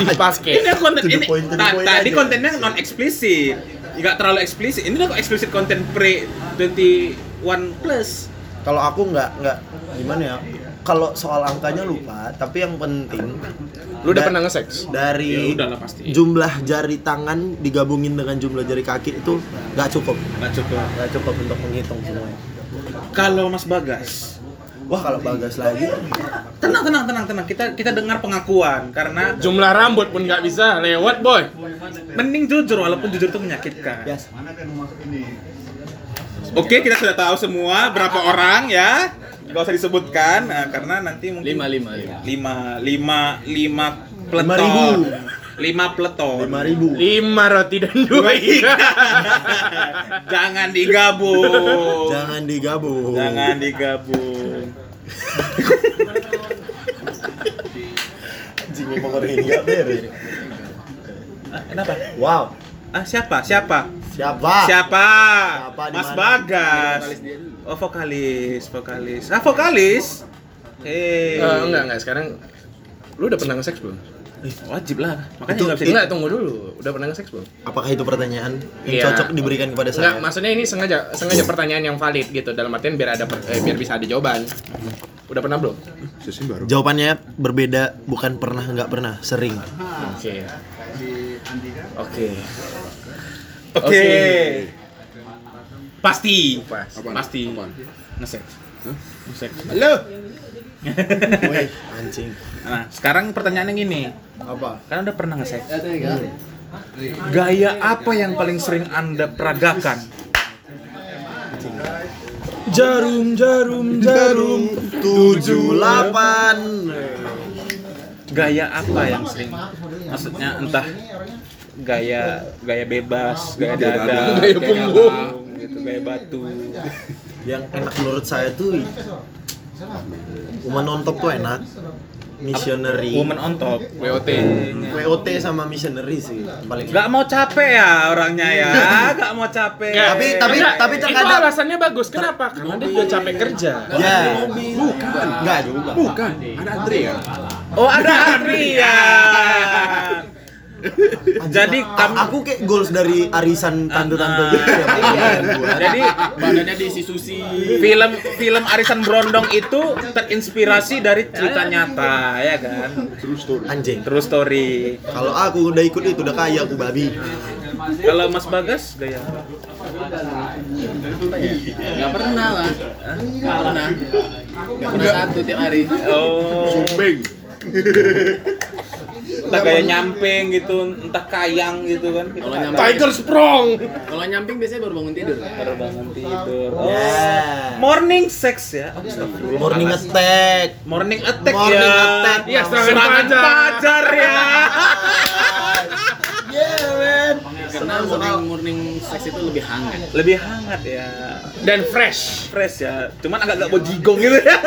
[SPEAKER 2] dipakai?
[SPEAKER 1] Ini kan konten
[SPEAKER 4] To the
[SPEAKER 1] ini.
[SPEAKER 4] point, to the
[SPEAKER 1] ta-
[SPEAKER 4] point
[SPEAKER 1] tadi
[SPEAKER 4] aja.
[SPEAKER 1] kontennya non eksplisit. Enggak terlalu eksplisit. Ini udah kok eksplisit konten pre 21 plus.
[SPEAKER 4] Kalau aku nggak nggak gimana ya? Kalau soal angkanya lupa, tapi yang penting
[SPEAKER 2] Lu udah
[SPEAKER 4] da-
[SPEAKER 2] pernah nge-sex?
[SPEAKER 4] dari
[SPEAKER 1] Ya udah lah pasti.
[SPEAKER 4] jumlah jari tangan digabungin dengan jumlah jari kaki itu nggak cukup,
[SPEAKER 1] Nggak cukup.
[SPEAKER 4] nggak cukup untuk menghitung semuanya.
[SPEAKER 1] Kalau Mas Bagas,
[SPEAKER 4] Wah kalau bagas lagi,
[SPEAKER 1] tenang tenang tenang tenang. Kita kita dengar pengakuan karena
[SPEAKER 2] Jumlah rambut pun nggak bisa lewat boy.
[SPEAKER 1] mending jujur walaupun jujur itu menyakitkan.
[SPEAKER 4] biasa.
[SPEAKER 1] Oke, kita sudah tahu semua berapa orang ya. Gak usah disebutkan nah, karena nanti mungkin
[SPEAKER 8] lima lima lima
[SPEAKER 1] lima lima lima
[SPEAKER 4] Lima
[SPEAKER 1] peleton.
[SPEAKER 4] ribu.
[SPEAKER 1] Lima peleton.
[SPEAKER 4] Lima ribu.
[SPEAKER 2] Lima roti dan dua (laughs) iya. ikan.
[SPEAKER 1] Jangan digabung.
[SPEAKER 4] Jangan digabung.
[SPEAKER 1] Jangan digabung.
[SPEAKER 4] Anjing memang orang ini nggak beres.
[SPEAKER 1] Kenapa?
[SPEAKER 4] Wow.
[SPEAKER 1] Ah, siapa? Siapa?
[SPEAKER 4] Siapa?
[SPEAKER 1] Siapa?
[SPEAKER 4] Ah. Siapa di
[SPEAKER 1] Mas
[SPEAKER 4] mana?
[SPEAKER 1] Bagas. Oh, vokalis, vokalis. Ah, vokalis. Eh,
[SPEAKER 2] Eh, enggak enggak sekarang lu udah pernah nge-sex belum?
[SPEAKER 1] Wajib lah. Makanya
[SPEAKER 4] Itu-
[SPEAKER 1] nggak bisa.
[SPEAKER 2] Enggak, tunggu dulu. Udah pernah nge-sex belum?
[SPEAKER 4] Apakah itu pertanyaan yang
[SPEAKER 2] Iya.
[SPEAKER 4] cocok diberikan kepada saya?
[SPEAKER 2] Enggak, maksudnya ini sengaja sengaja pertanyaan yang valid gitu dalam artian biar ada per- eh, biar bisa ada jawaban. Udah pernah belum?
[SPEAKER 4] Jawabannya berbeda, bukan pernah nggak pernah, sering.
[SPEAKER 2] Oke. Oke.
[SPEAKER 1] Oke. Pasti.
[SPEAKER 2] Pas.
[SPEAKER 1] Pasti. Ngesek. Ngesek.
[SPEAKER 2] Halo.
[SPEAKER 4] Woi, anjing.
[SPEAKER 1] Nah, sekarang pertanyaannya gini.
[SPEAKER 4] Apa?
[SPEAKER 1] Kan udah pernah ngesek. Gaya apa yang paling sering Anda peragakan?
[SPEAKER 2] Jarum jarum
[SPEAKER 4] Jarum 78.
[SPEAKER 1] Gaya apa yang sering? Maksudnya entah gaya gaya bebas, gaya dada, gaya punggung, gitu, gaya batu.
[SPEAKER 4] Yang enak menurut saya tuh Woman on top tuh enak. Missionary.
[SPEAKER 1] Woman on top.
[SPEAKER 2] WOT.
[SPEAKER 4] WOT sama missionary sih yang paling.
[SPEAKER 1] Gak mau capek ya orangnya ya, gak mau capek.
[SPEAKER 4] Tapi tapi
[SPEAKER 2] Enggak,
[SPEAKER 4] tapi
[SPEAKER 2] itu
[SPEAKER 4] terkadang
[SPEAKER 2] alasannya bagus. Kenapa? Karena dia udah capek kerja.
[SPEAKER 4] Ya. Bukan. Enggak juga. Bukan.
[SPEAKER 1] Oh ada Adrian. (laughs) Jadi kamu Nah.
[SPEAKER 4] aku kayak goals dari arisan tante-tante gitu ya. Pak.
[SPEAKER 1] jadi
[SPEAKER 8] Nah, iya. badannya diisi susi
[SPEAKER 1] film film Arisan Brondong itu terinspirasi dari cerita nyata ya kan.
[SPEAKER 4] Anjing.
[SPEAKER 1] Terus story.
[SPEAKER 4] Kalau aku udah ikut itu udah kaya aku babi.
[SPEAKER 1] Kalau Mas Bagas gaya apa?
[SPEAKER 8] nggak pernah lah nggak pernah nggak pernah satu tiap hari
[SPEAKER 1] Oh. Entah kayak nyamping gitu, entah kayang gitu kan. Kita
[SPEAKER 8] Kalau
[SPEAKER 1] nggak
[SPEAKER 8] nyamping-
[SPEAKER 2] Tiger Sprong.
[SPEAKER 8] kalau nyamping biasanya baru bangun tidur
[SPEAKER 1] tahu. Baru bangun tidur.
[SPEAKER 4] Yeah.
[SPEAKER 1] Oh. Morning sex ya. Astagfirullah.
[SPEAKER 4] Ya. Morning attack.
[SPEAKER 1] Morning attack
[SPEAKER 4] Morning
[SPEAKER 1] ya.
[SPEAKER 4] attack.
[SPEAKER 2] Iya, serangan
[SPEAKER 1] Serangan
[SPEAKER 2] pajar.
[SPEAKER 1] pajar
[SPEAKER 4] (laughs)
[SPEAKER 1] ya.
[SPEAKER 8] karena morning morning sex itu lebih hangat
[SPEAKER 1] Lebih hangat ya.
[SPEAKER 2] Dan fresh.
[SPEAKER 1] Fresh ya. Cuman agak-agak bojigong gitu
[SPEAKER 8] (laughs)
[SPEAKER 1] ya.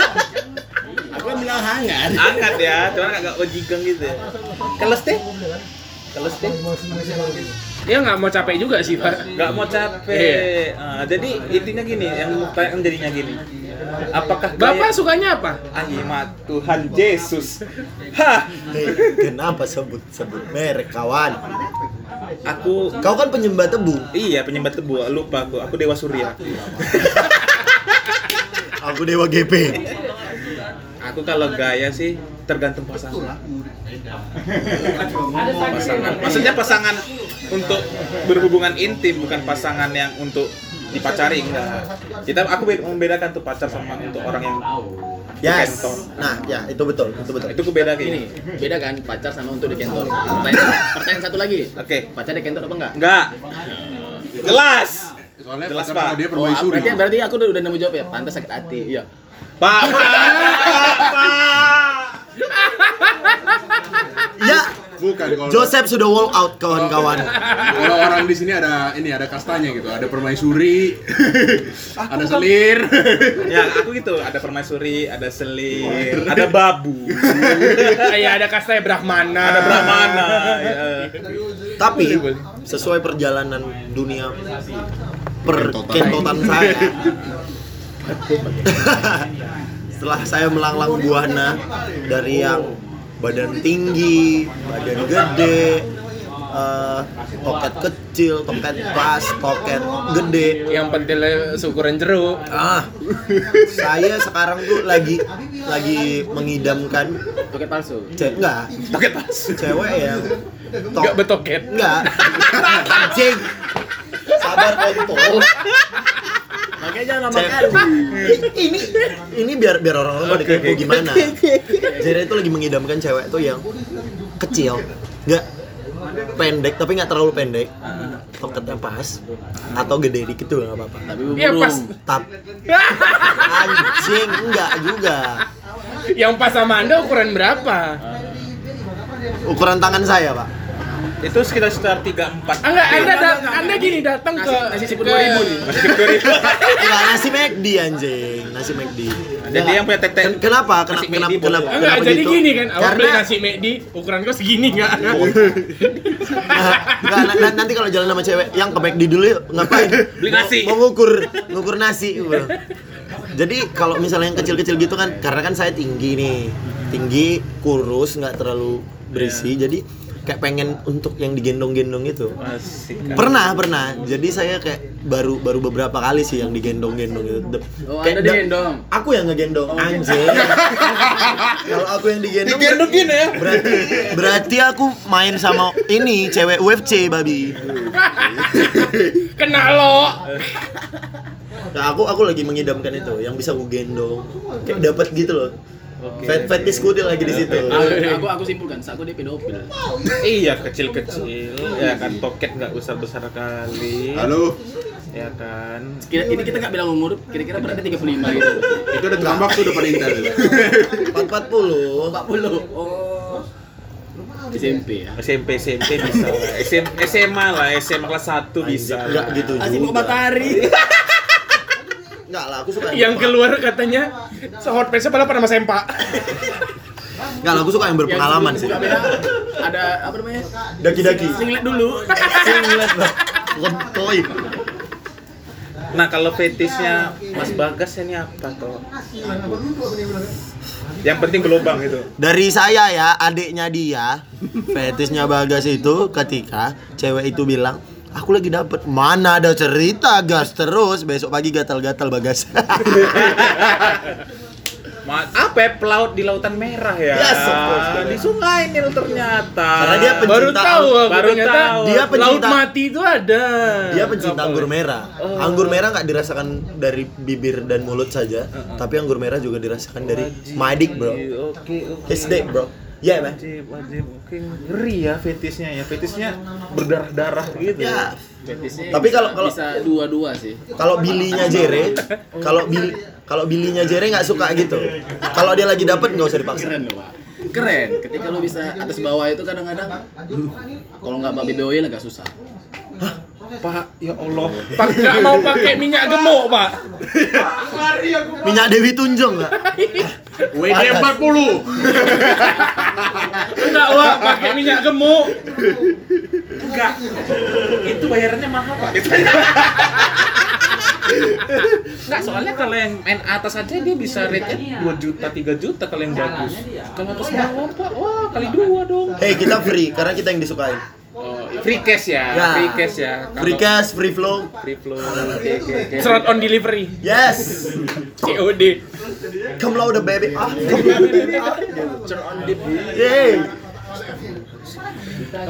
[SPEAKER 8] aku kan bilang hangat
[SPEAKER 1] Hangat ya, cuman agak bojigong gitu ya. Keles teh. Keles teh.
[SPEAKER 2] Dia nggak mau capek juga sih, Pak.
[SPEAKER 1] nggak mau
[SPEAKER 8] Iya.
[SPEAKER 1] capek. Ah, jadi intinya gini, yang pertanyaan jadinya gini. Apakah gaya-
[SPEAKER 2] Bapak sukanya apa?
[SPEAKER 1] Ahimat Tuhan Yesus. (laughs) Hah,
[SPEAKER 4] Hei, Eh, kenapa sebut sebut merek kawan?
[SPEAKER 1] aku
[SPEAKER 4] Kau kan penyembah tebu.
[SPEAKER 1] iya penyembah tebu, lupa aku. Aku Dewa Surya.
[SPEAKER 4] Aku dewa GP.
[SPEAKER 1] Aku kalau gaya sih tergantung pasangan. pasangan. Maksudnya pasangan untuk berhubungan intim bukan pasangan yang untuk dipacari enggak. Kita aku be- membedakan tuh pacar sama untuk orang yang
[SPEAKER 4] Yes.
[SPEAKER 1] Kenton.
[SPEAKER 4] Nah, ya itu betul, itu betul.
[SPEAKER 1] Itu aku beda kayak
[SPEAKER 8] ini
[SPEAKER 1] gini.
[SPEAKER 8] beda kan pacar sama untuk di kantor pertanyaan, pertanyaan satu lagi
[SPEAKER 1] Oke.
[SPEAKER 8] pacar di kantor apa enggak
[SPEAKER 1] Enggak. Jelas. Jelas, Pak.
[SPEAKER 8] Oh, berarti, berarti aku udah, udah nemu jawab ya. Pantas sakit hati.
[SPEAKER 2] (laughs)
[SPEAKER 8] Iya.
[SPEAKER 1] Pak.
[SPEAKER 4] Ya,
[SPEAKER 6] Bukan kalau
[SPEAKER 4] Joseph sudah wall out kawan-kawan.
[SPEAKER 6] kalau orang di sini ada ini ada kastanya gitu, ada (laughs) permaisuri, ada selir. (laughs)
[SPEAKER 1] ya, aku gitu, ada permaisuri, ada selir, ada babu,
[SPEAKER 2] Kayak Iya, ada kasta Brahmana.
[SPEAKER 1] ada brahmana. ya.
[SPEAKER 4] Tapi
[SPEAKER 1] (laughs)
[SPEAKER 4] sesuai perjalanan dunia perkentotan saya, Setelah saya melanglang buana dari yang badan tinggi, badan gede, eh, toket kecil, toket pas, toket gede.
[SPEAKER 2] Yang pentilnya syukuran jeruk.
[SPEAKER 4] Ah, saya sekarang tuh lagi lagi mengidamkan
[SPEAKER 8] Toket palsu.
[SPEAKER 4] cewek enggak,
[SPEAKER 2] Toket pas.
[SPEAKER 4] cewek yang to-
[SPEAKER 2] Enggak betoket.
[SPEAKER 4] Enggak. Anjing. Sabar kontol.
[SPEAKER 8] Makanya jangan
[SPEAKER 4] Cep. ini ini biar biar orang-orang pada kepo gimana. Jadi itu lagi mengidamkan cewek tuh yang kecil, nggak pendek tapi nggak terlalu pendek, toketnya pas atau gede dikit tuh nggak apa-apa.
[SPEAKER 8] Tapi
[SPEAKER 2] Iya,
[SPEAKER 8] burung.
[SPEAKER 2] pas.
[SPEAKER 4] Tap anjing enggak juga.
[SPEAKER 2] Yang pas sama Anda ukuran berapa?
[SPEAKER 4] Ukuran tangan saya pak.
[SPEAKER 1] Itu sekitar sekitar 34
[SPEAKER 2] Enggak, Anda da- Anda gini datang ke
[SPEAKER 8] nasi siput
[SPEAKER 2] ke-
[SPEAKER 8] 2000 nih.
[SPEAKER 4] Enggak nasi McD anjing, nasi McD.
[SPEAKER 1] Jadi yang punya tete.
[SPEAKER 4] Ken- Kenapa? Kena-
[SPEAKER 1] Nasi
[SPEAKER 4] Kenapa?
[SPEAKER 1] McD boleh.
[SPEAKER 4] Kenapa?
[SPEAKER 2] Enggak,
[SPEAKER 4] kenapa
[SPEAKER 2] jadi
[SPEAKER 4] gitu?
[SPEAKER 2] gini kan, awal beli
[SPEAKER 4] Karena
[SPEAKER 2] nasi Medi, ukuran kau segini enggak?
[SPEAKER 4] Nah, Nggak, na- na- nanti kalau jalan sama cewek yang ke McD dulu yuk, ngapain?
[SPEAKER 1] Beli nasi.
[SPEAKER 4] Mau, mau ngukur, ngukur nasi. gua bilang. Jadi kalau misalnya yang kecil-kecil gitu kan, karena kan saya tinggi nih, tinggi, kurus, nggak terlalu berisi,
[SPEAKER 1] Iya.
[SPEAKER 4] jadi kayak pengen untuk yang digendong-gendong gitu. itu.
[SPEAKER 1] Asik.
[SPEAKER 4] Pernah, pernah. Jadi saya kayak baru baru beberapa kali sih yang digendong-gendong itu. De-
[SPEAKER 8] Oh,
[SPEAKER 4] kayak
[SPEAKER 8] Anda
[SPEAKER 4] da-
[SPEAKER 8] digendong? Oh,
[SPEAKER 4] Aku yang ngegendong
[SPEAKER 8] (laughs)
[SPEAKER 4] anjing. Kalau aku yang digendong
[SPEAKER 1] Digendongin ya.
[SPEAKER 4] berarti berarti aku main sama ini cewek UFC babi.
[SPEAKER 2] Kena lo.
[SPEAKER 4] Nah, aku aku lagi mengidamkan itu yang bisa gue gendong. Kayak dapat gitu loh. Fet fetis gue lagi di situ.
[SPEAKER 8] Aku aku simpulkan, aku dia pedofil.
[SPEAKER 1] Iya kecil-kecil, ya kan toket nggak usah besar kali,
[SPEAKER 6] Halo,
[SPEAKER 1] ya kan.
[SPEAKER 8] Kira ini kita nggak bilang umur, kira-kira beratnya 35 gitu.
[SPEAKER 6] itu udah terambak tuh udah pada intel.
[SPEAKER 4] 440.
[SPEAKER 8] 40. Oh. SMP ya.
[SPEAKER 1] SMP SMP bisa lah, SM, SMA lah, SMA kelas 1 bisa.
[SPEAKER 4] Enggak
[SPEAKER 1] lah.
[SPEAKER 4] Ah, gitu
[SPEAKER 8] Asli
[SPEAKER 4] juga.
[SPEAKER 8] kok matahari.
[SPEAKER 4] Enggak lah, aku suka
[SPEAKER 2] Yang
[SPEAKER 4] berpengalaman.
[SPEAKER 2] keluar katanya sehot pesa pada pada Mas Empa.
[SPEAKER 4] Enggak lah, aku suka yang berpengalaman
[SPEAKER 8] Yang
[SPEAKER 4] sih.
[SPEAKER 8] buka beda, Ada apa namanya?
[SPEAKER 4] Daki-daki.
[SPEAKER 8] Singlet dulu.
[SPEAKER 4] Singlet lah. Lentoi.
[SPEAKER 1] Nah kalau fetisnya Mas Bagas ini apa toh? Yang penting gelombang gitu.
[SPEAKER 4] Dari saya ya, adiknya dia, fetisnya Bagas itu ketika cewek itu bilang, aku lagi dapet mana ada cerita gas terus besok pagi gatal-gatal Bagas.
[SPEAKER 1] Ma- apa ya, pelaut di lautan merah ya?
[SPEAKER 4] Yes, of course.
[SPEAKER 1] di sungai ini lo ternyata.
[SPEAKER 4] Karena dia pencinta-
[SPEAKER 2] Baru tahu aku
[SPEAKER 1] Baru
[SPEAKER 2] ternyata
[SPEAKER 1] tahu.
[SPEAKER 4] Dia
[SPEAKER 2] laut
[SPEAKER 4] pencinta-
[SPEAKER 2] mati itu ada.
[SPEAKER 4] (laughs) dia pencinta
[SPEAKER 1] Kapal.
[SPEAKER 4] anggur merah. Anggur merah nggak dirasakan dari bibir dan mulut saja, tapi anggur merah juga dirasakan dari my dick, bro.
[SPEAKER 1] Oke, oke.
[SPEAKER 4] His dick, bro. Ya, yeah, man.
[SPEAKER 1] Wajib, wajib. Oke, ngeri ya fetisnya ya. Fetisnya berdarah-darah gitu.
[SPEAKER 4] Ya.
[SPEAKER 8] Fetisnya
[SPEAKER 4] Tapi
[SPEAKER 8] bisa-
[SPEAKER 4] kalau- kalau-
[SPEAKER 8] bisa dua-dua sih.
[SPEAKER 4] Kalau bilinya Jere, kalau bili kalau bilinya Jere nggak suka gitu. Kalau dia lagi dapet nggak usah dipaksa.
[SPEAKER 8] Keren loh, Pak. Keren. Ketika lu bisa atas bawah itu kadang-kadang "Duh, kalau nggak babi oil agak susah.
[SPEAKER 1] Pak, ya Allah.
[SPEAKER 2] Pak nggak mau pakai minyak gemuk, Pak.
[SPEAKER 4] Minyak Dewi Tunjung nggak?
[SPEAKER 6] WD 40.
[SPEAKER 2] Enggak, Wak, pakai minyak gemuk.
[SPEAKER 1] Enggak. Itu bayarannya mahal, Pak. Enggak, soalnya kalau yang main atas aja dia bisa rate-nya 2 juta, 3 juta kalau yang bagus. Kalau atas bawah, Pak, wah kali dua dong.
[SPEAKER 4] Hei kita free karena kita yang disukai.
[SPEAKER 1] Oh, free cash ya,
[SPEAKER 4] Ya.
[SPEAKER 1] free cash ya. Kalau
[SPEAKER 4] Free cash, free flow.
[SPEAKER 1] free flow. Oke, oke, oke.
[SPEAKER 2] Serat on delivery.
[SPEAKER 4] Yes.
[SPEAKER 2] COD.
[SPEAKER 4] Come loud the baby. Ah, come loud the baby. Ah. Yeay.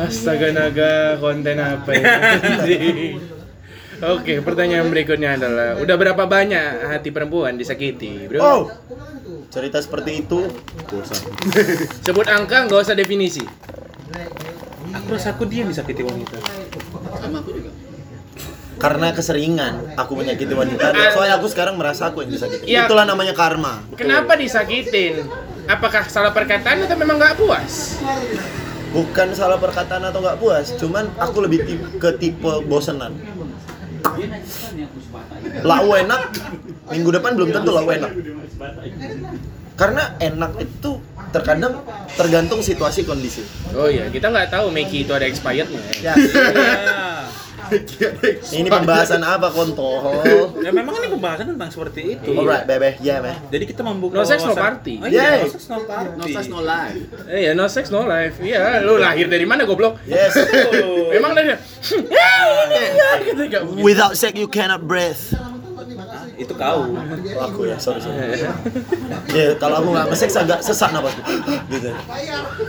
[SPEAKER 2] Astaga naga konten apa ya?
[SPEAKER 4] (laughs)
[SPEAKER 2] Oke, pertanyaan berikutnya adalah udah berapa banyak hati perempuan disakiti, bro?
[SPEAKER 4] Oh. Cerita seperti itu
[SPEAKER 2] Sebut angka, nggak usah definisi.
[SPEAKER 1] Aku rasa aku dia yang disakiti wanita.
[SPEAKER 8] Sama aku juga.
[SPEAKER 4] karena keseringan aku menyakiti wanita. Soalnya aku sekarang merasa aku yang disakiti.
[SPEAKER 2] Iya.
[SPEAKER 4] Itulah namanya karma.
[SPEAKER 2] Kenapa disakitin? Apakah salah perkataan atau memang nggak puas?
[SPEAKER 4] Bukan salah perkataan atau nggak puas, cuman aku lebih ti- ke tipe bosenan. Lau enak, minggu depan belum tentu lau enak. Karena enak itu terkadang tergantung situasi kondisi.
[SPEAKER 2] Oh iya, kita nggak tahu Meki itu ada expirednya.
[SPEAKER 4] Ya. Ini pembahasan apa kontol?
[SPEAKER 1] Ya memang ini pembahasan tentang seperti itu.
[SPEAKER 4] Alright, bebeh, ya meh.
[SPEAKER 1] Jadi kita
[SPEAKER 2] No
[SPEAKER 1] membuka
[SPEAKER 2] sex, no
[SPEAKER 1] wawasan-
[SPEAKER 2] party.
[SPEAKER 1] Oh, iya,
[SPEAKER 4] Yay.
[SPEAKER 1] no sex no party.
[SPEAKER 8] No sex, no life.
[SPEAKER 2] Eh ya no sex no life. Iya, lu lahir dari mana goblok?
[SPEAKER 4] Yes.
[SPEAKER 1] Tuh.
[SPEAKER 2] Memang dari
[SPEAKER 4] (laughs)
[SPEAKER 2] Ya ini ya gitu enggak mungkin.
[SPEAKER 4] Without sex you cannot breathe.
[SPEAKER 1] itu kau.
[SPEAKER 4] Oh, aku ya, sorry sorry. Ya kalau aku nggak nge-sex agak sesak napasku. Gitu.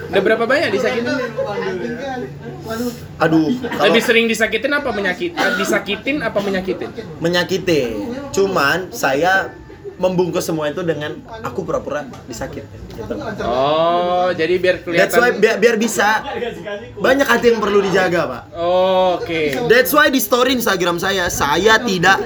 [SPEAKER 2] Udah berapa banyak disakitin?
[SPEAKER 4] Aduh, kalau
[SPEAKER 2] Lebih sering disakitin apa menyakit? eh, Disakitin apa menyakitin?
[SPEAKER 4] menyakiti. Cuman saya membungkus semua itu dengan aku pura-pura disakit. Gitu.
[SPEAKER 2] Oh, jadi biar kelihatan.
[SPEAKER 4] That's why biar, biar bisa banyak hati yang perlu dijaga, Pak.
[SPEAKER 2] Oh, Oke.
[SPEAKER 4] That's why di story Instagram saya, saya tidak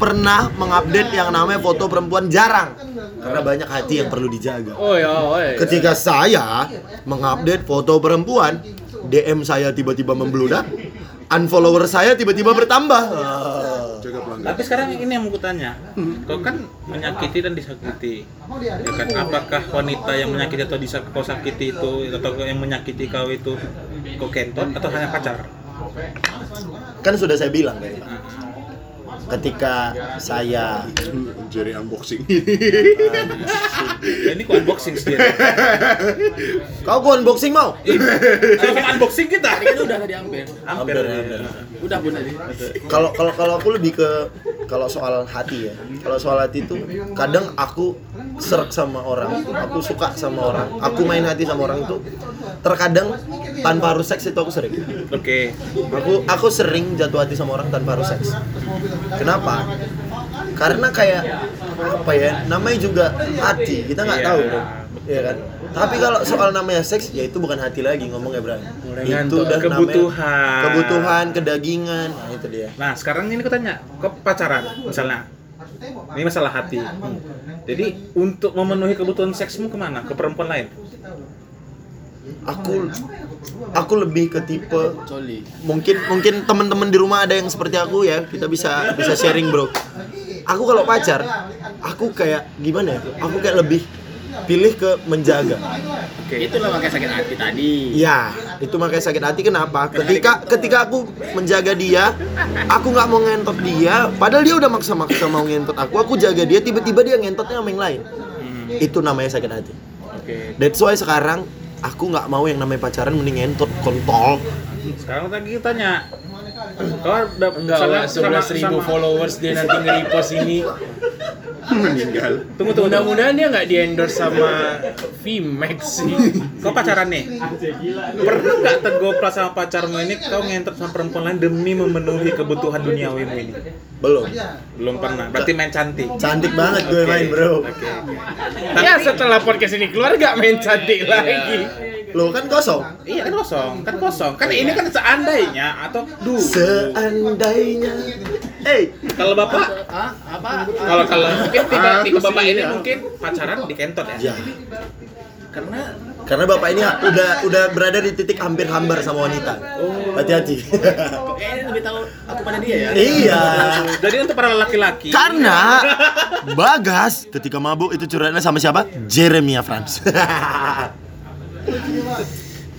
[SPEAKER 4] pernah mengupdate yang namanya foto perempuan jarang karena banyak hati yang perlu dijaga.
[SPEAKER 2] Oh ya, oh ya.
[SPEAKER 4] Ketika saya mengupdate foto perempuan, DM saya tiba-tiba membludak, unfollower saya tiba-tiba bertambah. Ah.
[SPEAKER 6] Jaga pelanggan.
[SPEAKER 1] Tapi sekarang ini yang mau kutanya.
[SPEAKER 4] Hmm.
[SPEAKER 1] Kau kan menyakiti dan disakiti. Ya kan apakah wanita yang menyakiti atau disak kau sakiti itu atau yang menyakiti kau itu kau kenton atau hanya pacar?
[SPEAKER 4] Kan sudah saya bilang tadi, Pak. Ketika saya
[SPEAKER 6] Jadi unboxing. (laughs)
[SPEAKER 1] Ya, ini kau unboxing sendiri.
[SPEAKER 4] Kau gua unboxing mau? (laughs)
[SPEAKER 1] Langsung unboxing kita.
[SPEAKER 8] Tadi kan udah tadi hampir.
[SPEAKER 4] Hampir,
[SPEAKER 1] Hampir.
[SPEAKER 4] hampir.
[SPEAKER 8] Udah pun tadi.
[SPEAKER 4] kalau kalau kalau aku lebih ke kalau soal hati ya kalau soal hati itu kadang aku serak sama orang aku suka sama orang aku main hati sama orang itu terkadang tanpa harus seks itu aku sering
[SPEAKER 1] Oke.
[SPEAKER 4] aku aku sering jatuh hati sama orang tanpa harus seks kenapa karena kayak apa ya namanya juga hati kita nggak
[SPEAKER 1] Iya.
[SPEAKER 4] tahu bro Iya kan tapi kalau soal namanya seks ya itu bukan hati lagi ngomongnya bro
[SPEAKER 1] Mulai
[SPEAKER 4] itu
[SPEAKER 1] ngantuk.
[SPEAKER 4] udah namanya
[SPEAKER 1] Kebutuhan.
[SPEAKER 4] kebutuhan kedagingan nah itu dia
[SPEAKER 1] Nah, sekarang ini aku tanya, ke pacaran misalnya. Ini masalah hati. Hmm. Jadi untuk memenuhi kebutuhan seksmu kemana? Ke perempuan lain?
[SPEAKER 4] aku aku lebih ke tipe
[SPEAKER 8] Coli.
[SPEAKER 4] mungkin mungkin teman-teman di rumah ada yang seperti aku ya kita bisa bisa sharing bro aku kalau pacar aku kayak gimana ya aku kayak lebih pilih ke menjaga
[SPEAKER 8] Itulah makanya sakit hati tadi.
[SPEAKER 4] ya itu makanya sakit hati kenapa ketika ketika aku menjaga dia aku nggak mau ngentot dia padahal dia udah maksa-maksa mau ngentot aku aku jaga dia tiba-tiba dia ngentotnya sama yang lain
[SPEAKER 8] Hmm.
[SPEAKER 4] itu namanya sakit hati
[SPEAKER 1] Oke.
[SPEAKER 4] that's why sekarang aku nggak mau yang namanya pacaran mending ngentot kontol
[SPEAKER 1] Sekarang tadi kita tanya. Kau ada
[SPEAKER 2] Enggak lah,
[SPEAKER 1] sama-
[SPEAKER 2] 11 ribu
[SPEAKER 1] sama-
[SPEAKER 2] followers dia nanti nge-repost ini
[SPEAKER 6] Meninggal.
[SPEAKER 2] Tunggu, tunggu, mudah-mudahan dia nggak di-endorse sama VMAX sih
[SPEAKER 1] Kau pacaran nih? Pernah nggak tergopla sama pacarmu ini kau ngentot sama perempuan lain demi memenuhi kebutuhan duniawimu ini?
[SPEAKER 4] belum
[SPEAKER 1] Belum pernah. Berarti main cantik.
[SPEAKER 4] Cantik banget gue
[SPEAKER 1] Oke,
[SPEAKER 4] main bro.
[SPEAKER 1] oke.
[SPEAKER 2] Ya setelah podcast ini keluar nggak main cantik lagi
[SPEAKER 4] Lo kan kosong.
[SPEAKER 1] Iya kan kosong, kan kosong. Kan ini kan seandainya atau dulu.
[SPEAKER 4] Seandainya. Eh,
[SPEAKER 1] Kalau bapak,
[SPEAKER 8] Hah? Apa?
[SPEAKER 1] kalau kalau mungkin tipe,
[SPEAKER 6] Ah,
[SPEAKER 1] tipe bapak
[SPEAKER 6] sih,
[SPEAKER 1] ini
[SPEAKER 6] ya.
[SPEAKER 1] mungkin pacaran di kentot ya.
[SPEAKER 4] ya.
[SPEAKER 8] Karena
[SPEAKER 4] Karena bapak ini udah udah berada di titik hampir hambar sama wanita. Hati-hati.
[SPEAKER 8] kok kayaknya Oh. lebih tahu aku pada dia ya.
[SPEAKER 4] iya.
[SPEAKER 1] Jadi untuk para laki-laki.
[SPEAKER 4] Karena Bagas ketika mabuk itu curhatnya sama siapa? Jeremia Franz.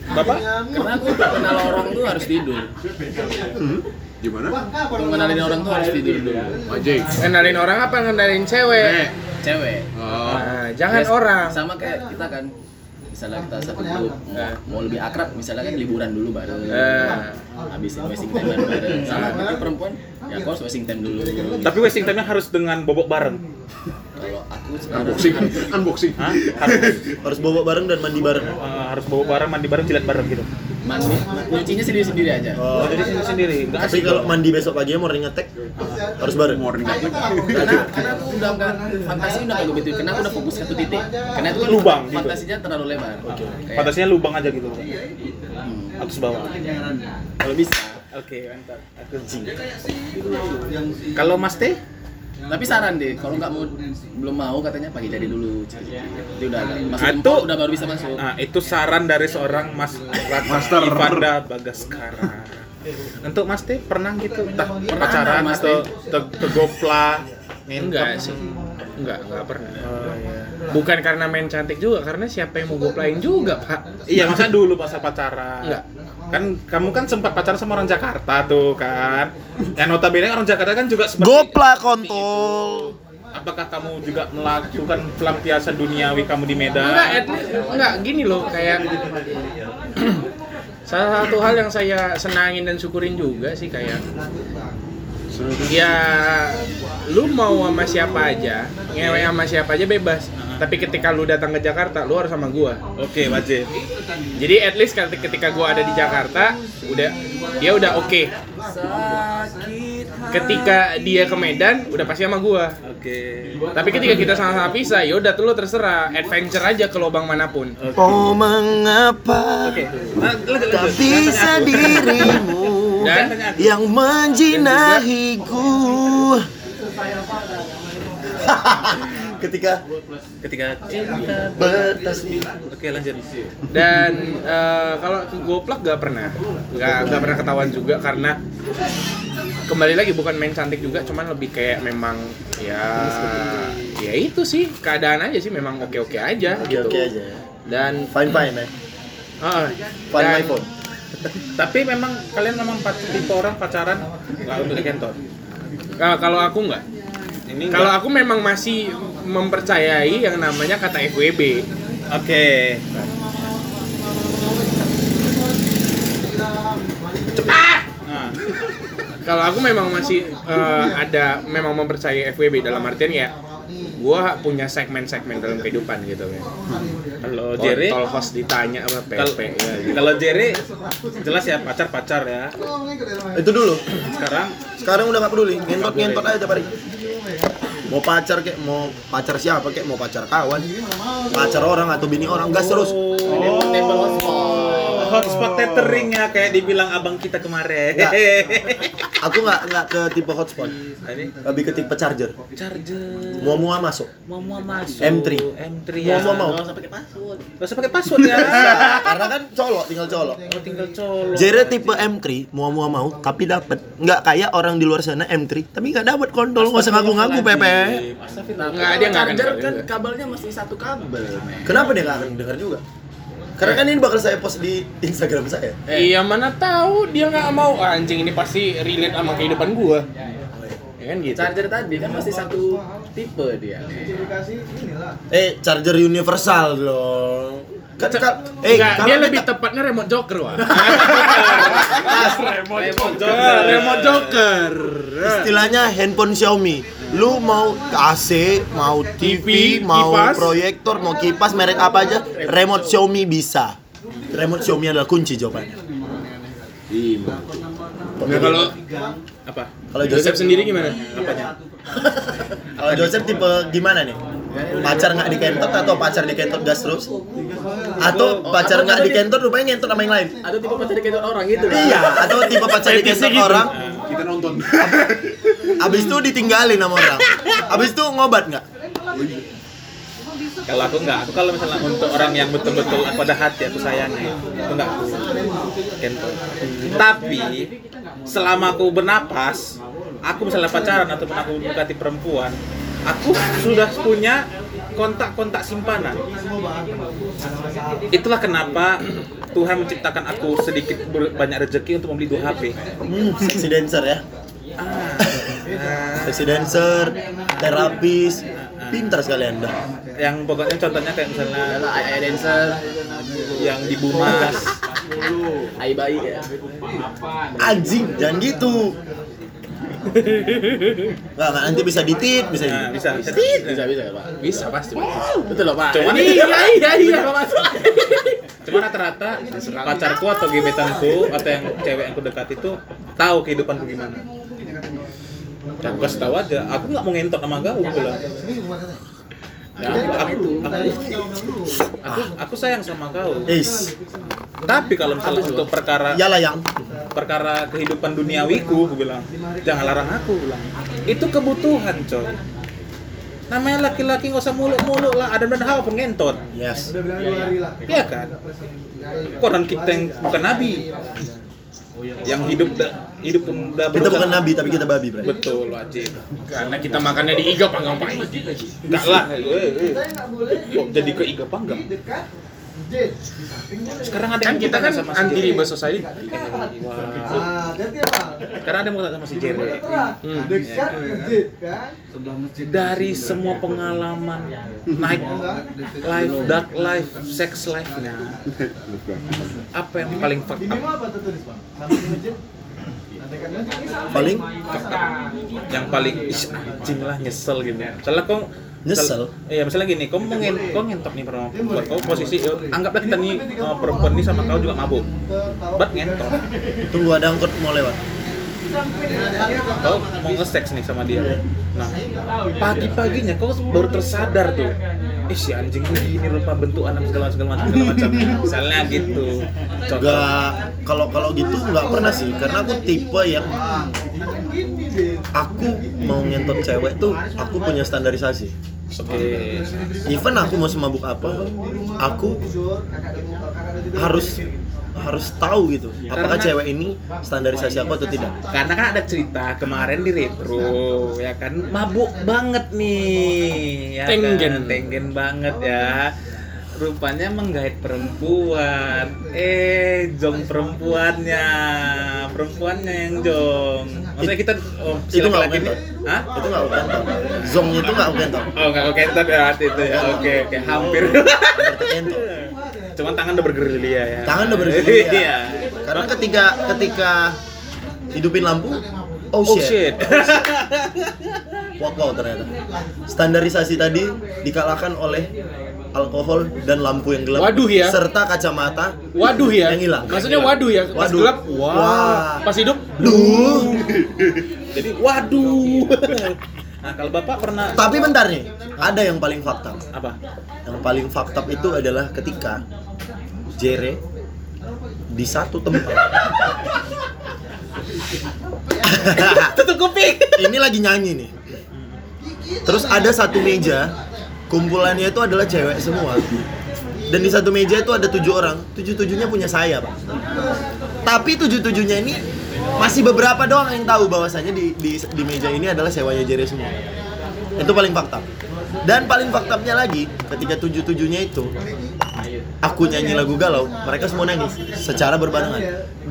[SPEAKER 1] bapak
[SPEAKER 8] Karena aku untuk kenal orang tuh harus tidur.
[SPEAKER 6] Gimana?
[SPEAKER 8] Untuk kenalin orang tuh harus tidur dulu.
[SPEAKER 6] Majik.
[SPEAKER 2] Ngenalin orang apa ngenalin
[SPEAKER 6] Eh.
[SPEAKER 2] cewek?
[SPEAKER 8] Cewek.
[SPEAKER 6] Oh.
[SPEAKER 2] Nah, jangan
[SPEAKER 8] Ya,
[SPEAKER 2] orang
[SPEAKER 8] Sama kayak kita kan. Misalnya kita satu grup,
[SPEAKER 1] Iya.
[SPEAKER 8] mau, mau lebih akrab, misalnya kan liburan dulu bareng.
[SPEAKER 2] Eh.
[SPEAKER 8] Habis wasting time bareng. bareng. Sama berarti perempuan, ya aku harus wasting time dulu.
[SPEAKER 1] tapi wasting time-nya harus dengan bobok bareng.
[SPEAKER 8] Kalau aku sekarang
[SPEAKER 6] Unboxing. Unboxing.
[SPEAKER 1] Hah? Harus
[SPEAKER 4] (laughs) Harus bobok bareng dan mandi bareng.
[SPEAKER 1] eh, harus bobok bareng, mandi bareng, jilat bareng gitu.
[SPEAKER 8] mandi, nyucinya sendiri-sendiri aja.
[SPEAKER 4] Oh.
[SPEAKER 1] Oh, jadi sendiri sendiri. Enggak
[SPEAKER 4] Tapi
[SPEAKER 1] asik
[SPEAKER 4] kalau
[SPEAKER 1] dong.
[SPEAKER 4] mandi besok pagi mau ring attack harus bareng.
[SPEAKER 6] Morning.
[SPEAKER 8] karena karena aku udah nggak fantasi udah nggak begitu karena aku udah fokus satu titik karena itu kan
[SPEAKER 1] Lubang gitu.
[SPEAKER 8] fantasinya terlalu lebar Kayak,
[SPEAKER 1] Batasnya lubang aja gitu.
[SPEAKER 8] hmm,
[SPEAKER 1] Atas bawah.
[SPEAKER 8] kalau bisa
[SPEAKER 1] Oke, mantap. Aku Kalau Mas Teh?
[SPEAKER 8] tapi saran deh kalau nggak mau belum mau katanya pagi jadi dulu cicil-cicil. itu udah masuk
[SPEAKER 1] Itu-
[SPEAKER 8] tempat, udah baru bisa masuk
[SPEAKER 1] Nah, itu saran dari seorang Mas Master
[SPEAKER 6] Master.
[SPEAKER 1] Ivanda Bagaskara. Untuk Mas Teh pernah gitu entah pacaran
[SPEAKER 8] Mas
[SPEAKER 1] atau te- tergopla ngentot?
[SPEAKER 2] Enggak sih Enggak, enggak pernah.
[SPEAKER 8] Oh
[SPEAKER 1] eh,
[SPEAKER 8] iya.
[SPEAKER 2] Bukan karena main cantik juga, karena siapa yang mau goplain juga, Pak.
[SPEAKER 1] Iya, masa dulu masa pacaran.
[SPEAKER 2] Enggak.
[SPEAKER 1] Kan kamu kan sempat pacaran sama orang Jakarta tuh kan. Yang notabene orang Jakarta kan juga seperti
[SPEAKER 4] Goplak kontol.
[SPEAKER 1] Apakah kamu juga melakukan pelampiasan duniawi kamu di Medan?
[SPEAKER 2] Enggak, at least- enggak gini loh kayak (clears throat) salah satu hal yang saya senangin dan syukurin juga sih kayak ya lu mau sama siapa aja ngewe sama siapa aja bebas tapi ketika lu datang ke Jakarta lu harus sama gua
[SPEAKER 1] Oke, wajib.
[SPEAKER 2] jadi at least kali- ketika gua ada di Jakarta udah dia udah oke ketika dia ke Medan udah pasti sama gua
[SPEAKER 1] Oke.
[SPEAKER 2] tapi ketika kita sama-sama pisah yaudah tuh lu terserah adventure aja ke lubang manapun
[SPEAKER 4] Oh mengapa
[SPEAKER 1] Nah, lanjut,
[SPEAKER 4] tak
[SPEAKER 1] lanjut.
[SPEAKER 4] bisa dirimu
[SPEAKER 2] dan
[SPEAKER 4] yang menjinahiku? (laughs) Ketika
[SPEAKER 1] Ketika
[SPEAKER 4] bertasbih
[SPEAKER 1] Oke, lanjut.
[SPEAKER 2] dan eh, kalau ke goplak gak pernah gak, gak pernah ketahuan juga karena kembali lagi bukan main cantik juga cuman lebih kayak memang ya ya itu sih keadaan aja sih memang oke oke aja
[SPEAKER 4] Oke
[SPEAKER 2] gitu
[SPEAKER 4] oke aja ya.
[SPEAKER 2] dan
[SPEAKER 4] Fine fine ya.
[SPEAKER 2] ah,
[SPEAKER 4] Fine my
[SPEAKER 2] dan-
[SPEAKER 4] phone.
[SPEAKER 1] Tapi memang kalian memang pac- tipe orang pacaran nggak untuk di kantor.
[SPEAKER 2] ah, kalau aku nggak
[SPEAKER 1] Ini nggak.
[SPEAKER 2] kalau aku memang masih mempercayai yang namanya kata FWB
[SPEAKER 1] oke. Nah,
[SPEAKER 2] kalau aku memang masih eh, ada memang mempercayai FWB dalam artian ya gua punya segmen-segmen dalam kehidupan gitu ya
[SPEAKER 1] kalau Jerry,
[SPEAKER 2] Kontol host ditanya apa
[SPEAKER 1] kalau
[SPEAKER 2] PP ya gitu.
[SPEAKER 1] kalau Jerry jelas ya pacar pacar ya.
[SPEAKER 4] Itu dulu.
[SPEAKER 1] Sekarang
[SPEAKER 4] Sekarang udah gak peduli, ngentot ngentot aja tiap hari. Mau pacar kayak mau pacar siapa kayak mau pacar kawan, pacar orang atau bini orang, gas terus.
[SPEAKER 1] oh, hotspot tethering ya kayak dibilang abang kita kemarin. (laughs)
[SPEAKER 4] Nggak. Aku nggak nggak ke tipe hotspot,
[SPEAKER 1] Ini
[SPEAKER 4] lebih ke tipe charger.
[SPEAKER 1] charger.
[SPEAKER 4] Mau mua masuk.
[SPEAKER 1] Mau mau masuk.
[SPEAKER 4] M3.
[SPEAKER 1] M3 ya.
[SPEAKER 2] Iya.
[SPEAKER 4] Mau mua mau.
[SPEAKER 1] Gak usah pakai password ya.
[SPEAKER 4] Karena kan colok, tinggal colok.
[SPEAKER 1] Mau tinggal colok.
[SPEAKER 4] Jere tipe M3, mua mua mau, tapi dapat. Nggak kayak orang di luar sana M3, tapi nggak dapat kontol, nggak usah ngaku-ngaku Pepe.
[SPEAKER 1] Astagfirullah.
[SPEAKER 2] nggak dia nggak akan
[SPEAKER 8] Charger
[SPEAKER 2] dengar
[SPEAKER 8] kan
[SPEAKER 2] juga.
[SPEAKER 8] kabelnya masih satu kabel, men.
[SPEAKER 4] Kenapa dia nggak akan dengar juga? Karena kan ini bakal saya post di Instagram saya.
[SPEAKER 2] iya mana tahu dia nggak mau "Ah, anjing ini pasti relate sama kehidupan gua ya kan gitu
[SPEAKER 8] Charger tadi kan masih satu tipe dia. men.
[SPEAKER 4] Eh, charger universal dong. Kan kan- eh
[SPEAKER 2] Nggak,
[SPEAKER 4] kalau
[SPEAKER 2] dia
[SPEAKER 4] kita-
[SPEAKER 2] lebih tepatnya remote joker (laughs) Nah, wah
[SPEAKER 1] Remote
[SPEAKER 2] Ah, remote joker
[SPEAKER 4] istilahnya handphone Xiaomi. Lu mau AC, mau
[SPEAKER 2] TV,
[SPEAKER 4] TV, mau
[SPEAKER 2] kipas.
[SPEAKER 4] proyektor, mau kipas merek apa aja, remote Xiaomi bisa. Remote Xiaomi adalah kunci jawabannya.
[SPEAKER 2] nah kalau apa
[SPEAKER 4] Kalau
[SPEAKER 2] Joseph
[SPEAKER 4] Joseph
[SPEAKER 2] sendiri gimana
[SPEAKER 4] (laughs) Kalau Joseph tipe gimana nih? Pacar nggak dikentot atau pacar dikentot gas terus? Atau pacar nggak dikentot rupanya ngentot sama yang lain?
[SPEAKER 8] Ada tipe pacar dikejar orang gitu kan?
[SPEAKER 4] Iya, atau tipe pacar dikentot orang,
[SPEAKER 6] Kita nonton.
[SPEAKER 4] abis itu ditinggalin sama orang. Abis itu ngobat nggak?
[SPEAKER 1] Kalau aku nggak, aku kalau misalnya untuk orang yang betul-betul aku ada hati aku sayangi, itu nggak aku kentut. Tapi selama aku bernapas, aku misalnya pacaran atau aku mendekati perempuan, aku sudah punya kontak-kontak simpanan. Itulah kenapa Tuhan menciptakan aku sedikit ber- banyak rezeki untuk membeli dua HP.
[SPEAKER 4] Hmm, seksi dancer ya.
[SPEAKER 1] Ah.
[SPEAKER 4] Seksi dancer, terapis, pintar sekali anda.
[SPEAKER 1] yang pokoknya contohnya kayak misalnya
[SPEAKER 8] Adalah AI AI dancer,
[SPEAKER 1] yang di Bumas
[SPEAKER 8] AI bayi ya.
[SPEAKER 4] Anjing, jangan gitu. Nggak, nggak, nanti bisa ditit, bisa di
[SPEAKER 1] nah, bisa bisa
[SPEAKER 8] Bisa bisa ya, Pak.
[SPEAKER 2] bisa pasti
[SPEAKER 8] Betul loh, Pak.
[SPEAKER 1] Cuman-
[SPEAKER 8] iya iya iya Mas.
[SPEAKER 1] cuma rata-rata pacarku atau gebetanku atau yang cewek yang ku dekat itu tahu kehidupanku gimana dan aku kasih tahu aja aku nggak mau ngentot sama kau aku bilang Ya, aku, aku, aku, aku, aku sayang sama kau.
[SPEAKER 4] Is,
[SPEAKER 1] Tapi kalau misalnya untuk perkara
[SPEAKER 4] iyalah yang.
[SPEAKER 1] perkara kehidupan duniawiku, aku bilang jangan larang aku aku bilang. Itu kebutuhan, coy. Namanya laki-laki nggak usah muluk-muluk lah, ada dan hawa pengentot.
[SPEAKER 4] Yes.
[SPEAKER 1] Ya, Iya kan? Koran kita yang bukan nabi. yang hidup da- hidup udah
[SPEAKER 4] Kita bukan nabi tapi kita babi, Bray.
[SPEAKER 1] betul wajib
[SPEAKER 2] Karena kita makannya di iga panggang pahit.
[SPEAKER 1] enggak lah eh, eh. kok jadi ke iga panggang sekarang ada
[SPEAKER 2] Kan
[SPEAKER 1] yang
[SPEAKER 2] kita kan
[SPEAKER 1] sama si
[SPEAKER 2] anti
[SPEAKER 1] Jerry.
[SPEAKER 2] riba society.
[SPEAKER 4] Ah,
[SPEAKER 2] Hmm.
[SPEAKER 1] sekarang ada yang mau tanya sama si Jerry
[SPEAKER 4] kan?
[SPEAKER 1] dari semua pengalaman naik life dark life sex life nya apa yang paling fuck up
[SPEAKER 4] Paling
[SPEAKER 1] yang paling "Ish, anjing lah nyesel gitu misalnya kau
[SPEAKER 4] Nyesel?
[SPEAKER 1] iya misalnya gini kau mau ngen- kau ngentot nih perempuan buat kau posisi eh, anggaplah kita nih eh, perempuan nih sama kau juga mabuk buat ngentot
[SPEAKER 4] tunggu ada angkot mau lewat.
[SPEAKER 1] kau mau nge-sex nih sama dia nah pagi-paginya kau baru tersadar tuh eh si anjing ini rupa bentuk anak segala segala macam segala macam misalnya gitu contoh
[SPEAKER 4] Gak kalau kalau gitu nggak pernah sih karena aku tipe yang aku mau ngentot cewek tuh aku punya standarisasi.
[SPEAKER 1] oke
[SPEAKER 4] Even aku mau semabuk apa, aku harus harus tahu gitu apakah
[SPEAKER 1] Karena-
[SPEAKER 4] cewek ini standarisasi aku atau tidak.
[SPEAKER 1] Karena kan ada cerita kemarin di retro ya kan mabuk banget nih ya kan?
[SPEAKER 2] Tenggen.
[SPEAKER 1] tenggen banget ya rupanya menggait perempuan eh jong perempuannya perempuannya yang jong maksudnya kita oh, si
[SPEAKER 4] Itu nggak
[SPEAKER 1] laki-laki ini-
[SPEAKER 4] open,
[SPEAKER 1] Hah?
[SPEAKER 4] Itu nggak aku kentot. Zong itu nggak aku kentot.
[SPEAKER 1] oh nggak oke entar ya hati itu ya oke oke
[SPEAKER 4] (laughs)
[SPEAKER 1] hampir
[SPEAKER 4] Nggak aku kentot.
[SPEAKER 1] cuman tangan udah bergerilya ya
[SPEAKER 4] Tangan
[SPEAKER 1] (laughs)
[SPEAKER 4] udah
[SPEAKER 2] (laughs)
[SPEAKER 4] bergerilya.
[SPEAKER 1] iya
[SPEAKER 4] Karena ketika ketika hidupin lampu, oh
[SPEAKER 1] oh
[SPEAKER 4] shit,
[SPEAKER 1] shit
[SPEAKER 4] wow wow ternyata. Standarisasi tadi dikalahkan oleh alkohol dan lampu yang gelap.
[SPEAKER 2] Waduh ya.
[SPEAKER 4] Serta kacamata.
[SPEAKER 2] Waduh ya.
[SPEAKER 4] Yang hilang.
[SPEAKER 2] Maksudnya waduh ya. Pas
[SPEAKER 4] Waduh.
[SPEAKER 2] gelap, wah.
[SPEAKER 4] Wah.
[SPEAKER 2] Pas hidup,
[SPEAKER 4] Duh.
[SPEAKER 1] jadi waduh (laughs) nah kalau bapak pernah
[SPEAKER 4] Tapi bentar nih, ada yang paling fakta.
[SPEAKER 1] apa
[SPEAKER 4] Yang paling fakta itu adalah ketika Jere di satu tempat.
[SPEAKER 1] Ah, tutup kuping
[SPEAKER 4] Ini lagi nyanyi nih. Terus ada satu meja, kumpulannya itu adalah cewek semua. Dan di satu meja itu ada tujuh orang, tujuh tujuhnya punya sayap. Tapi tujuh tujuhnya ini masih beberapa doang yang tahu bahwasannya di, di di meja ini adalah sewanya Jere semua. Itu paling fakta. Dan paling faktanya lagi, ketika tujuh tujuhnya itu aku nyanyi lagu galau, mereka semua nangis secara berbarengan.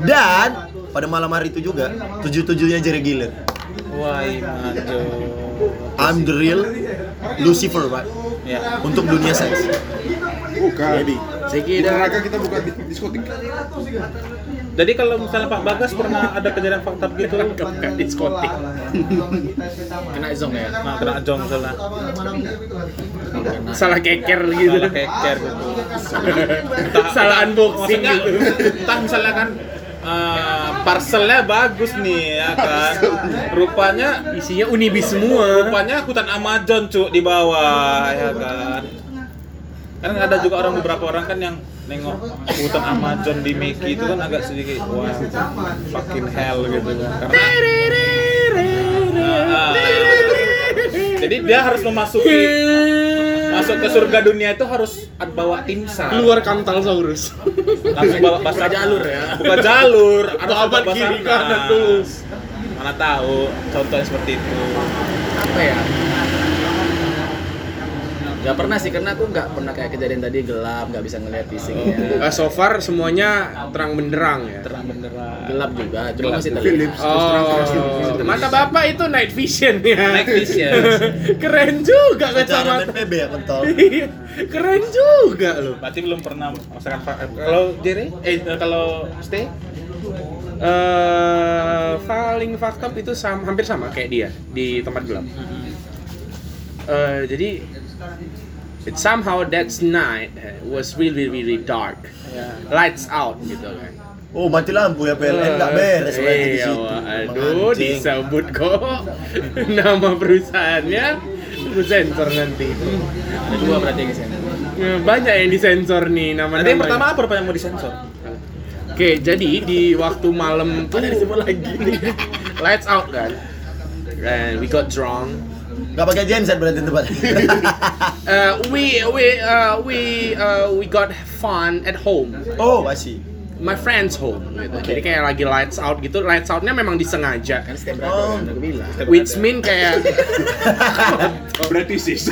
[SPEAKER 4] Dan pada malam hari itu juga tujuh tujuhnya Jere Gilir.
[SPEAKER 1] Wah, iya, imajo.
[SPEAKER 4] I'm the real Lucifer, right?
[SPEAKER 1] Ya.
[SPEAKER 4] Untuk dunia seks.
[SPEAKER 6] Bukan. Jadi, di
[SPEAKER 2] Sekida.
[SPEAKER 6] neraka kita buka di- diskotik.
[SPEAKER 1] Jadi kalau misalnya Pak Bagas pernah ada kejadian fakta gitu,
[SPEAKER 2] Bukan diskotik.
[SPEAKER 8] Kena zong ya.
[SPEAKER 1] nah kena ajong misalnya,
[SPEAKER 2] Salah keker gitu.
[SPEAKER 1] salah keker gitu.
[SPEAKER 2] Salah unboxing
[SPEAKER 1] Maksudnya,
[SPEAKER 2] gitu.
[SPEAKER 1] entah misalnya kan eh, parcelnya bagus nih ya kan. Rupanya
[SPEAKER 2] Isinya unibis semua.
[SPEAKER 1] rupanya hutan Amazon cuk di bawah ya kan. Kan ada juga orang beberapa orang kan yang nengok hutan Amazon di Mickey itu kan agak sedikit wah fucking hell gitu kan. Karena Ah, ah. Jadi dia harus memasuki masuk ke surga dunia itu harus bawa timsah.
[SPEAKER 2] Keluar kantal saurus.
[SPEAKER 1] langsung bawa basah
[SPEAKER 2] jalur ya.
[SPEAKER 1] Buka jalur atau
[SPEAKER 2] Babat kiri, kanan, tulus.
[SPEAKER 1] Mana tahu contohnya seperti itu.
[SPEAKER 8] apa ya nggak pernah sih karena aku nggak pernah kayak kejadian tadi gelap nggak bisa ngelihat fisiknya
[SPEAKER 2] Eh, so far semuanya terang benderang ya.
[SPEAKER 1] Terang benderang.
[SPEAKER 8] gelap juga cuma masih terlihat
[SPEAKER 6] Philips. terus terang, terus terang, terus
[SPEAKER 2] Oh,
[SPEAKER 6] terang.
[SPEAKER 2] mata bapak itu night vision ya.
[SPEAKER 1] Night vision.
[SPEAKER 2] (laughs) Keren juga
[SPEAKER 4] Secara
[SPEAKER 2] kacamata. (laughs)
[SPEAKER 4] BNPB ya kontol.
[SPEAKER 2] Iya, Keren juga loh.
[SPEAKER 1] Berarti belum pernah merasakan fa- eh, kalau Jerry eh kalau
[SPEAKER 2] eh
[SPEAKER 1] stay
[SPEAKER 2] paling fucked up itu sama, hampir sama kayak dia di tempat gelap. Eh, jadi it somehow that night eh, was really really dark.
[SPEAKER 1] Ya.
[SPEAKER 2] Lights out gitu kan.
[SPEAKER 4] Oh, mati lampu ya PLN enggak beres berarti di
[SPEAKER 2] Iya,
[SPEAKER 4] situ.
[SPEAKER 2] aduh
[SPEAKER 4] Emang anjing.
[SPEAKER 2] disebut kok (laughs) nama perusahaannya lu sensor nanti.
[SPEAKER 8] ada dua berarti yang kesini
[SPEAKER 2] Eh, Banyak yang disensor nih nama-nama.
[SPEAKER 1] Nanti yang pertama apa rupanya mau disensor?
[SPEAKER 2] Oke, jadi di waktu malam tuh (laughs) Lights out kan. And we got drunk.
[SPEAKER 4] Enggak pakai genset berarti tempat.
[SPEAKER 2] Eh, Uh, we we uh, we uh, we eh, got fun at home.
[SPEAKER 4] oh, masih.
[SPEAKER 2] my friend's home gitu. Jadi kayak lagi lights out gitu, lights outnya memang disengaja.
[SPEAKER 8] Kan setiap oh. aku bilang.
[SPEAKER 2] Which mean
[SPEAKER 4] (laughs)
[SPEAKER 2] kayak
[SPEAKER 6] Berarti sis.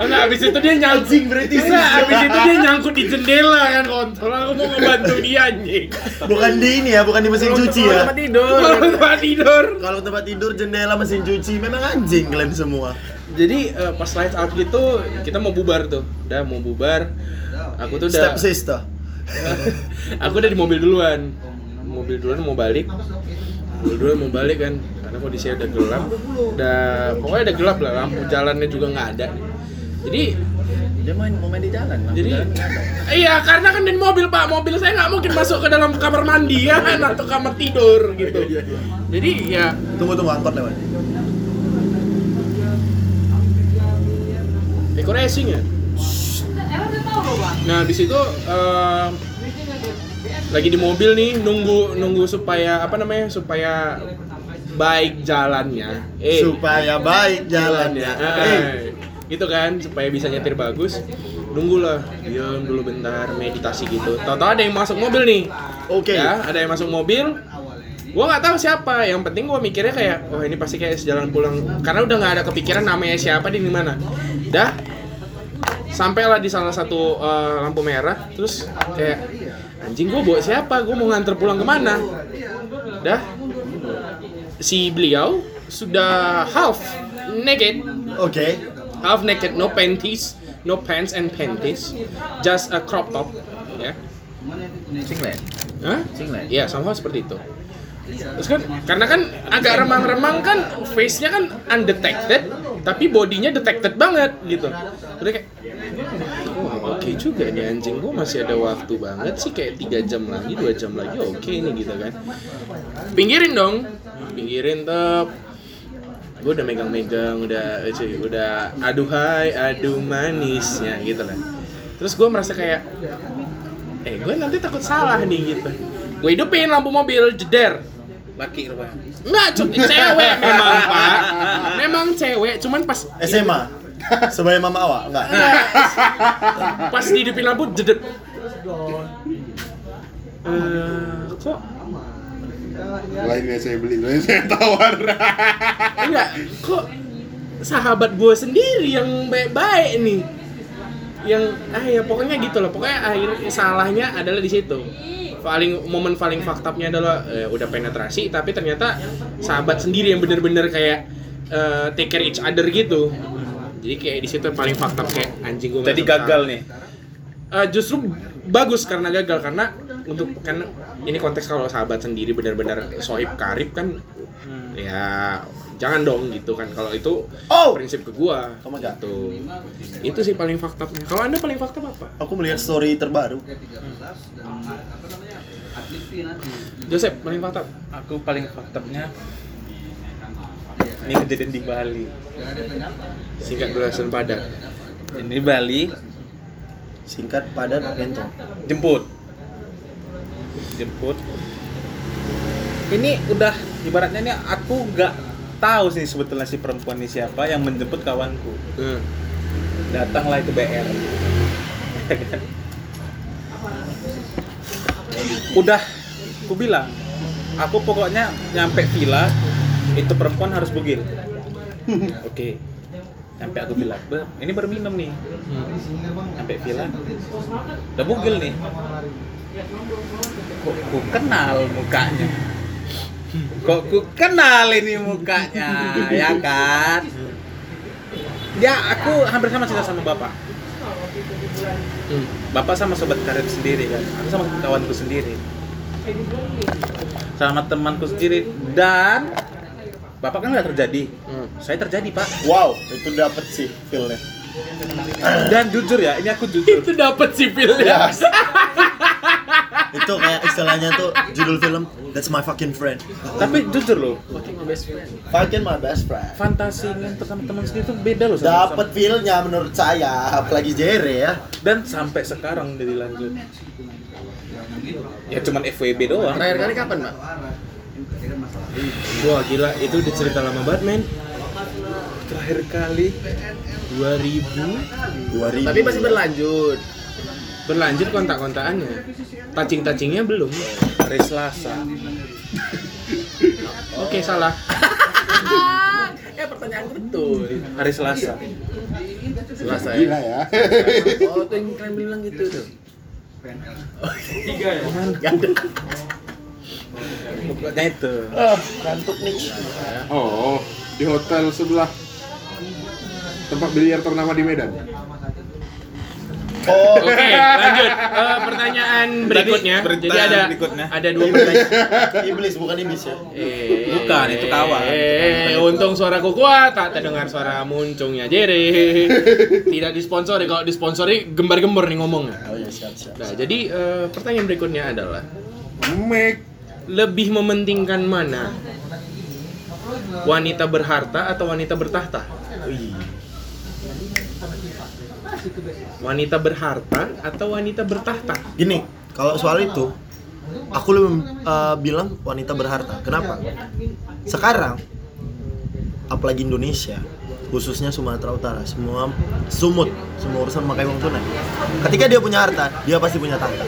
[SPEAKER 2] Oh, nah, abis itu dia nyangkut berarti abis itu dia nyangkut di jendela kan kontol. Aku mau ngebantu dia anjing.
[SPEAKER 4] Bukan di ini ya, bukan di mesin cuci ya.
[SPEAKER 8] Tempat tidur.
[SPEAKER 2] Kalau tempat tidur.
[SPEAKER 4] (laughs) Kalau tempat tidur, jendela, mesin cuci, memang anjing kalian semua.
[SPEAKER 2] Jadi eh, pas lights out gitu kita mau bubar tuh. Udah mau bubar. Aku tuh udah
[SPEAKER 4] Step sister.
[SPEAKER 2] aku udah di mobil duluan mobil duluan mau balik mobil duluan mau balik kan karena kondisinya udah gelap udah pokoknya udah gelap lah lampu jalannya juga nggak ada jadi
[SPEAKER 8] Dia main mau main di jalan. lampu
[SPEAKER 2] jadi
[SPEAKER 8] jalan.
[SPEAKER 2] iya karena kan di mobil pak mobil saya nggak mungkin masuk ke dalam kamar mandi ya (laughs) kan, atau kamar tidur gitu
[SPEAKER 8] Iya,
[SPEAKER 2] jadi ya
[SPEAKER 4] Tunggu tunggu angkot lewat.
[SPEAKER 2] Deco Racing ya? Nah, habis itu eh, lagi di mobil nih nunggu nunggu supaya apa namanya? supaya baik jalannya. Eh,
[SPEAKER 4] Supaya baik jalannya.
[SPEAKER 2] Eh,
[SPEAKER 4] Eh,
[SPEAKER 2] gitu kan supaya bisa nyetir bagus. Nunggulah, diam dulu bentar meditasi gitu. Tahu-tahu ada yang masuk mobil nih.
[SPEAKER 4] Oke.
[SPEAKER 2] Ya, ada yang masuk mobil. Gua nggak tahu siapa. Yang penting gua mikirnya kayak, oh ini pasti kayak sejalan pulang. Karena udah nggak ada kepikiran namanya siapa di mana. Dah. Sampailah di salah satu eh, lampu merah, terus kayak anjing gua bawa siapa? Gua mau nganter pulang kemana? Dah. Si beliau sudah half naked
[SPEAKER 4] Oke.
[SPEAKER 2] half naked, no panties, no pants and panties, just a crop top, ya.
[SPEAKER 8] Singlet.
[SPEAKER 2] Hah?
[SPEAKER 8] Singlet.
[SPEAKER 2] Ya, somehow seperti itu. Terus kan, karena kan agak remang-remang kan, face-nya kan undetected, tapi bodinya detected banget gitu. Udah kayak, wah oke juga nih anjing, gue masih ada waktu banget sih kayak tiga jam lagi, dua jam lagi oke nih gitu kan. Pinggirin dong, pinggirin tep. Gue udah megang-megang, udah, eh, cuy, udah aduhai, aduh manisnya gitu lah. Terus gue merasa kayak, eh gue nanti takut salah nih gitu gue hidupin lampu mobil jeder
[SPEAKER 1] Laki rupanya.
[SPEAKER 2] nggak cuma cewek (laughs) memang pak memang cewek cuman pas
[SPEAKER 4] SMA. Sebagai mama awak, enggak.
[SPEAKER 2] pas dihidupin lampu jedep Eh, kok
[SPEAKER 6] Lainnya saya beli, lainnya saya tawar.
[SPEAKER 2] enggak kok sahabat gue sendiri yang baik-baik nih yang ah ya pokoknya gitu loh pokoknya akhirnya salahnya adalah di situ paling momen paling faktapnya adalah eh, udah penetrasi tapi ternyata sahabat sendiri yang bener-bener kayak eh, take care each other gitu jadi kayak di situ yang paling faktap kayak anjing gue
[SPEAKER 1] Jadi gagal nih.
[SPEAKER 2] Eh, justru bagus karena gagal karena untuk kan ini konteks kalau sahabat sendiri benar-benar sohib karib kan
[SPEAKER 4] Hmm.
[SPEAKER 2] ya jangan dong gitu kan kalau itu
[SPEAKER 4] Oh!
[SPEAKER 2] prinsip ke gua
[SPEAKER 4] Oh my God.
[SPEAKER 2] gitu itu sih paling faktanya kalau anda paling fakta apa
[SPEAKER 4] Aku melihat story terbaru.
[SPEAKER 2] Joseph paling fakta
[SPEAKER 1] Aku paling faktanya ini kejadian di Bali.
[SPEAKER 2] singkat belasan padat
[SPEAKER 1] Ini di Bali
[SPEAKER 4] Singkat, padat, bentong.
[SPEAKER 1] jemput. Jemput. Ini udah ibaratnya ini aku nggak tahu sih sebetulnya si perempuan ini siapa yang menjemput kawanku.
[SPEAKER 2] Hmm.
[SPEAKER 1] Datanglah itu BR. udah aku bilang aku pokoknya nyampe villa itu perempuan harus bugil oke nyampe aku bilang "Be, ini baru minum nih nyampe villa udah bugil nih kok ku kenal mukanya kok ku kenal ini mukanya ya kan ya aku hampir sama cerita sama bapak
[SPEAKER 2] Hmm.
[SPEAKER 1] bapak sama sobat karir sendiri kan aku sama kawanku sendiri sama temanku sendiri dan bapak kan nggak terjadi
[SPEAKER 2] Hmm.
[SPEAKER 1] saya terjadi pak
[SPEAKER 4] Wow, itu dapet sih feel-nya.
[SPEAKER 1] dan jujur ya ini aku jujur
[SPEAKER 2] (laughs) itu dapat sipilnya
[SPEAKER 4] Yes. itu kayak istilahnya tuh judul film That's My Fucking Friend.
[SPEAKER 1] tapi jujur loh
[SPEAKER 4] Kan Fucking my best friend.
[SPEAKER 1] fantasi yang sama teman sendiri itu beda loh sama-
[SPEAKER 4] Dapat feel-nya menurut saya, apalagi Jere ya.
[SPEAKER 1] dan sampai sekarang dari lanjut ya cuman FWB doang
[SPEAKER 8] Terakhir kali kapan, Pak?
[SPEAKER 2] wah gila itu udah cerita lama banget men
[SPEAKER 1] terakhir kali
[SPEAKER 2] 2000
[SPEAKER 4] 2000.
[SPEAKER 8] Tapi masih berlanjut.
[SPEAKER 2] berlanjut kontak-kontakannya touching-touchingnya belum
[SPEAKER 1] hari Selasa
[SPEAKER 2] oke salah
[SPEAKER 8] ya pertanyaan betul
[SPEAKER 1] hari Selasa
[SPEAKER 8] selasa ya
[SPEAKER 6] Gila ya.
[SPEAKER 8] oh tuh yang kalian bilang gitu tuh tiga ya ada
[SPEAKER 1] bukannya Nah, itu
[SPEAKER 6] Oh, di hotel sebelah tempat biliar ternama di Medan.
[SPEAKER 2] Oke, lanjut. Eh, pertanyaan berikutnya.
[SPEAKER 1] pertanyaan
[SPEAKER 2] Jadi ada
[SPEAKER 1] berikutnya.
[SPEAKER 2] ada dua pertanyaan.
[SPEAKER 4] (laughs) Iblis bukan iblis ya.
[SPEAKER 2] Eh,
[SPEAKER 1] Bukan, itu kawan.
[SPEAKER 2] Eh, untung suaraku kuat, tak terdengar suara muncungnya Jere. Tidak disponsori, kalau disponsori gembar-gembor nih ngomongnya.
[SPEAKER 4] Oh iya siap siap.
[SPEAKER 2] Nah, jadi eh, pertanyaan berikutnya adalah
[SPEAKER 6] Make
[SPEAKER 2] lebih mementingkan mana? Wanita berharta atau wanita bertahta?
[SPEAKER 4] Oh, iya.
[SPEAKER 2] Wanita berharta atau wanita bertahta?
[SPEAKER 4] Gini, kalau soal itu aku lebih eh, bilang wanita berharta. Kenapa? Sekarang apalagi Indonesia, khususnya Sumatera Utara, semua sumut, semua urusan pakai uang tunai. Ketika dia punya harta, dia pasti punya tahta.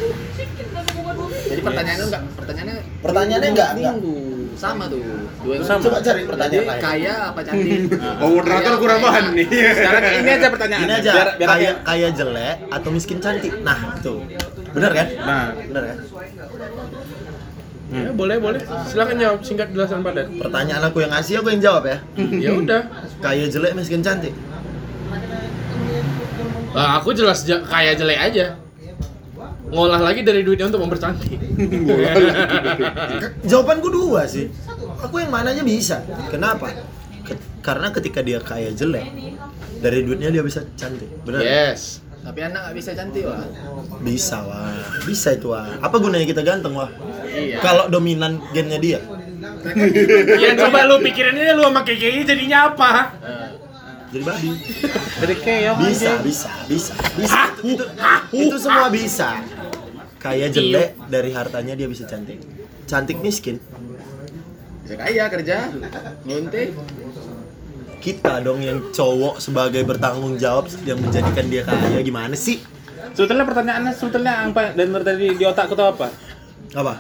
[SPEAKER 8] jadi pertanyaannya enggak pertanyaannya
[SPEAKER 4] Pertanyaannya enggak, enggak.
[SPEAKER 8] Minggu. sama tuh dua yang
[SPEAKER 4] Sama. Coba cari pertanyaan
[SPEAKER 8] Jadi
[SPEAKER 4] lain.
[SPEAKER 8] kaya apa cantik
[SPEAKER 6] Oh, moderator kurang bahan nih.
[SPEAKER 1] sekarang ini aja pertanyaan
[SPEAKER 4] Ini aja,
[SPEAKER 1] biar, biar
[SPEAKER 4] kaya, kaya jelek atau miskin cantik. Nah, itu. Bener kan?
[SPEAKER 1] nah
[SPEAKER 4] Bener kan?
[SPEAKER 2] Ya, boleh, boleh. Silakan jawab singkat jelasan padat.
[SPEAKER 4] Pertanyaan aku yang ngasih, aku yang jawab ya.
[SPEAKER 2] ya udah.
[SPEAKER 4] Kaya jelek, miskin cantik.
[SPEAKER 2] Ah, aku jelas ja- kaya jelek aja. Ngolah lagi dari duitnya untuk mempercantik.
[SPEAKER 4] Jawabanku dua sih. Aku yang mananya bisa. Kenapa? Ke- karena ketika dia kaya jelek, dari duitnya dia bisa cantik. Benar?
[SPEAKER 2] yes.
[SPEAKER 8] tapi anak nggak bisa cantik lah
[SPEAKER 4] Bisa wah. Bisa itu wah. Apa gunanya kita ganteng wah?
[SPEAKER 8] iya
[SPEAKER 4] Kalau dominan gennya dia.
[SPEAKER 2] Ya coba lu pikirin aja lu sama KKI jadinya apa?
[SPEAKER 8] Eh,
[SPEAKER 4] Jadi babi.
[SPEAKER 1] jadi kayak
[SPEAKER 4] Bisa, bisa, bisa. Bisa. Itu, itu semua bisa. Kaya jelek dari hartanya dia bisa cantik. Cantik miskin
[SPEAKER 8] bisa Ya kaya kerja nguntit
[SPEAKER 4] kita dong yang cowok sebagai bertanggung jawab yang menjadikan dia kaya gimana sih?
[SPEAKER 1] sebetulnya pertanyaannya sebetulnya apa dan tadi di otakku tuh apa
[SPEAKER 4] Apa?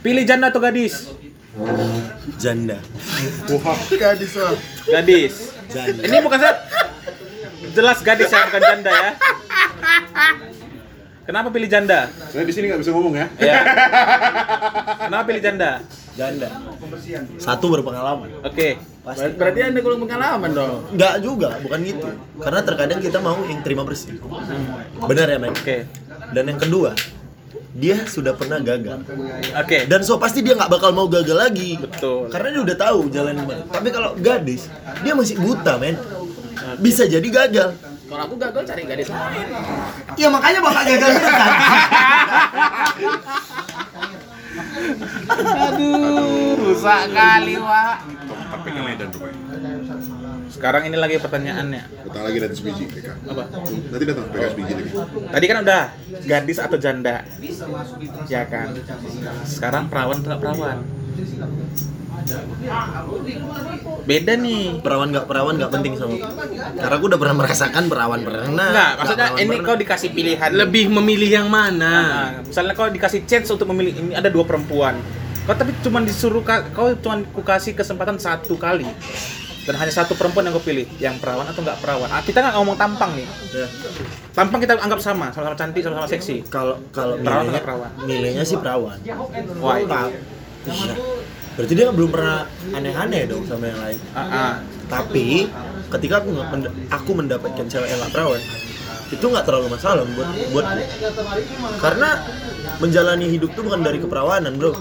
[SPEAKER 1] pilih janda atau gadis
[SPEAKER 4] Janda.
[SPEAKER 1] gadis
[SPEAKER 4] Janda.
[SPEAKER 1] ini bukan saya jelas gadis ya bukan janda ya kenapa pilih janda
[SPEAKER 6] Saya di sini nggak bisa ngomong ya.
[SPEAKER 1] ya kenapa pilih janda
[SPEAKER 4] Janda. Satu berpengalaman.
[SPEAKER 1] oke
[SPEAKER 4] Pasti.
[SPEAKER 8] berarti anda kurang pengalaman dong
[SPEAKER 4] Enggak juga, bukan gitu. Karena terkadang kita mau yang terima bersih.
[SPEAKER 8] Hmm.
[SPEAKER 4] Benar ya, men?
[SPEAKER 1] oke
[SPEAKER 4] Dan yang kedua, dia sudah pernah gagal.
[SPEAKER 1] oke
[SPEAKER 4] Dan so pasti dia nggak bakal mau gagal lagi.
[SPEAKER 1] Betul.
[SPEAKER 4] Karena dia udah tahu jalan gimana. Tapi kalau gadis, dia masih buta, men. Bisa jadi gagal.
[SPEAKER 8] kalau aku gagal cari gadis lain
[SPEAKER 4] Ya makanya bakal gagal terus kan.
[SPEAKER 6] Tapi ke Medan rupanya.
[SPEAKER 1] sekarang ini lagi pertanyaannya
[SPEAKER 6] Datang lagi dari sebiji PK.
[SPEAKER 1] apa
[SPEAKER 6] Nanti datang PK sebiji lagi.
[SPEAKER 1] Tadi kan udah gadis atau janda, ya kan? Sekarang perawan atau nggak perawan? Beda nih.
[SPEAKER 4] (laughs) Perawan nggak perawan nggak penting sama aku. Karena aku udah pernah merasakan perawan pernah.
[SPEAKER 1] Enggak, maksudnya
[SPEAKER 4] perawan
[SPEAKER 1] ini
[SPEAKER 4] pernah.
[SPEAKER 1] kau dikasih pilihan.
[SPEAKER 2] Lebih memilih yang
[SPEAKER 1] Nah,
[SPEAKER 2] mana?
[SPEAKER 1] misalnya kau dikasih chance untuk memilih ini ada dua perempuan. Kau tapi cuma disuruh ka- kau cuma kasih kesempatan satu kali dan hanya satu perempuan yang kau pilih, yang perawan atau nggak perawan. Ah, kita nggak ngomong tampang nih.
[SPEAKER 4] Ya.
[SPEAKER 1] Tampang kita anggap sama, sama-sama cantik, sama-sama
[SPEAKER 8] Iya,
[SPEAKER 1] seksi.
[SPEAKER 4] kalau kalau
[SPEAKER 1] Perawan
[SPEAKER 4] milihnya
[SPEAKER 1] atau perawan?
[SPEAKER 4] milihnya sih perawan
[SPEAKER 1] Why?
[SPEAKER 4] Ta- iya berarti dia belum pernah aneh-aneh dong sama yang lain
[SPEAKER 1] Ah, ah.
[SPEAKER 8] Iya.
[SPEAKER 4] tapi ketika aku nggak mend- aku mendapatkan cewek yang nggak perawan itu nggak terlalu masalah buat buat karena menjalani hidup tuh bukan dari keperawanan bro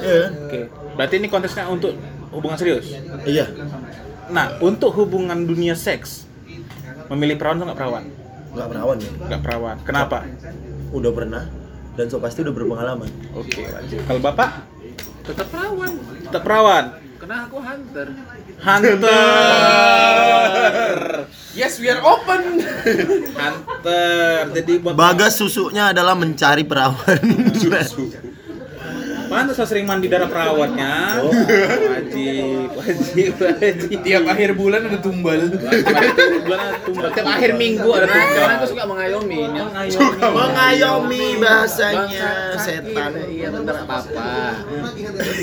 [SPEAKER 4] Iya kan?
[SPEAKER 1] Oke. Berarti ini konteksnya untuk hubungan serius.
[SPEAKER 4] iya
[SPEAKER 1] Nah, untuk hubungan dunia seks, memilih perawan atau nggak perawan?
[SPEAKER 4] nggak perawan ya
[SPEAKER 1] Nggak perawan. Kenapa?
[SPEAKER 4] udah pernah dan so pasti udah berpengalaman
[SPEAKER 1] Oke, lanjut. Kalau bapak,
[SPEAKER 8] tetap perawan
[SPEAKER 1] tetap perawan.
[SPEAKER 8] karena aku hunter
[SPEAKER 1] Hunter.
[SPEAKER 8] yes we are open
[SPEAKER 1] Hunter. Jadi buat
[SPEAKER 4] bagas susunya adalah mencari perawan
[SPEAKER 6] Susu.
[SPEAKER 1] Pantas saya sering mandi darah perawatnya.
[SPEAKER 8] Oh.
[SPEAKER 1] Wajib, wajib, wajib.
[SPEAKER 2] Tiap akhir bulan ada tumbal.
[SPEAKER 1] Bulan tumbal.
[SPEAKER 8] Tiap akhir minggu ada tugas. Karena aku suka mengayomi. ya.
[SPEAKER 4] Mengayomi bahasanya
[SPEAKER 8] Bangsa, sakit.
[SPEAKER 4] setan.
[SPEAKER 8] Iya bentar nggak apa-apa.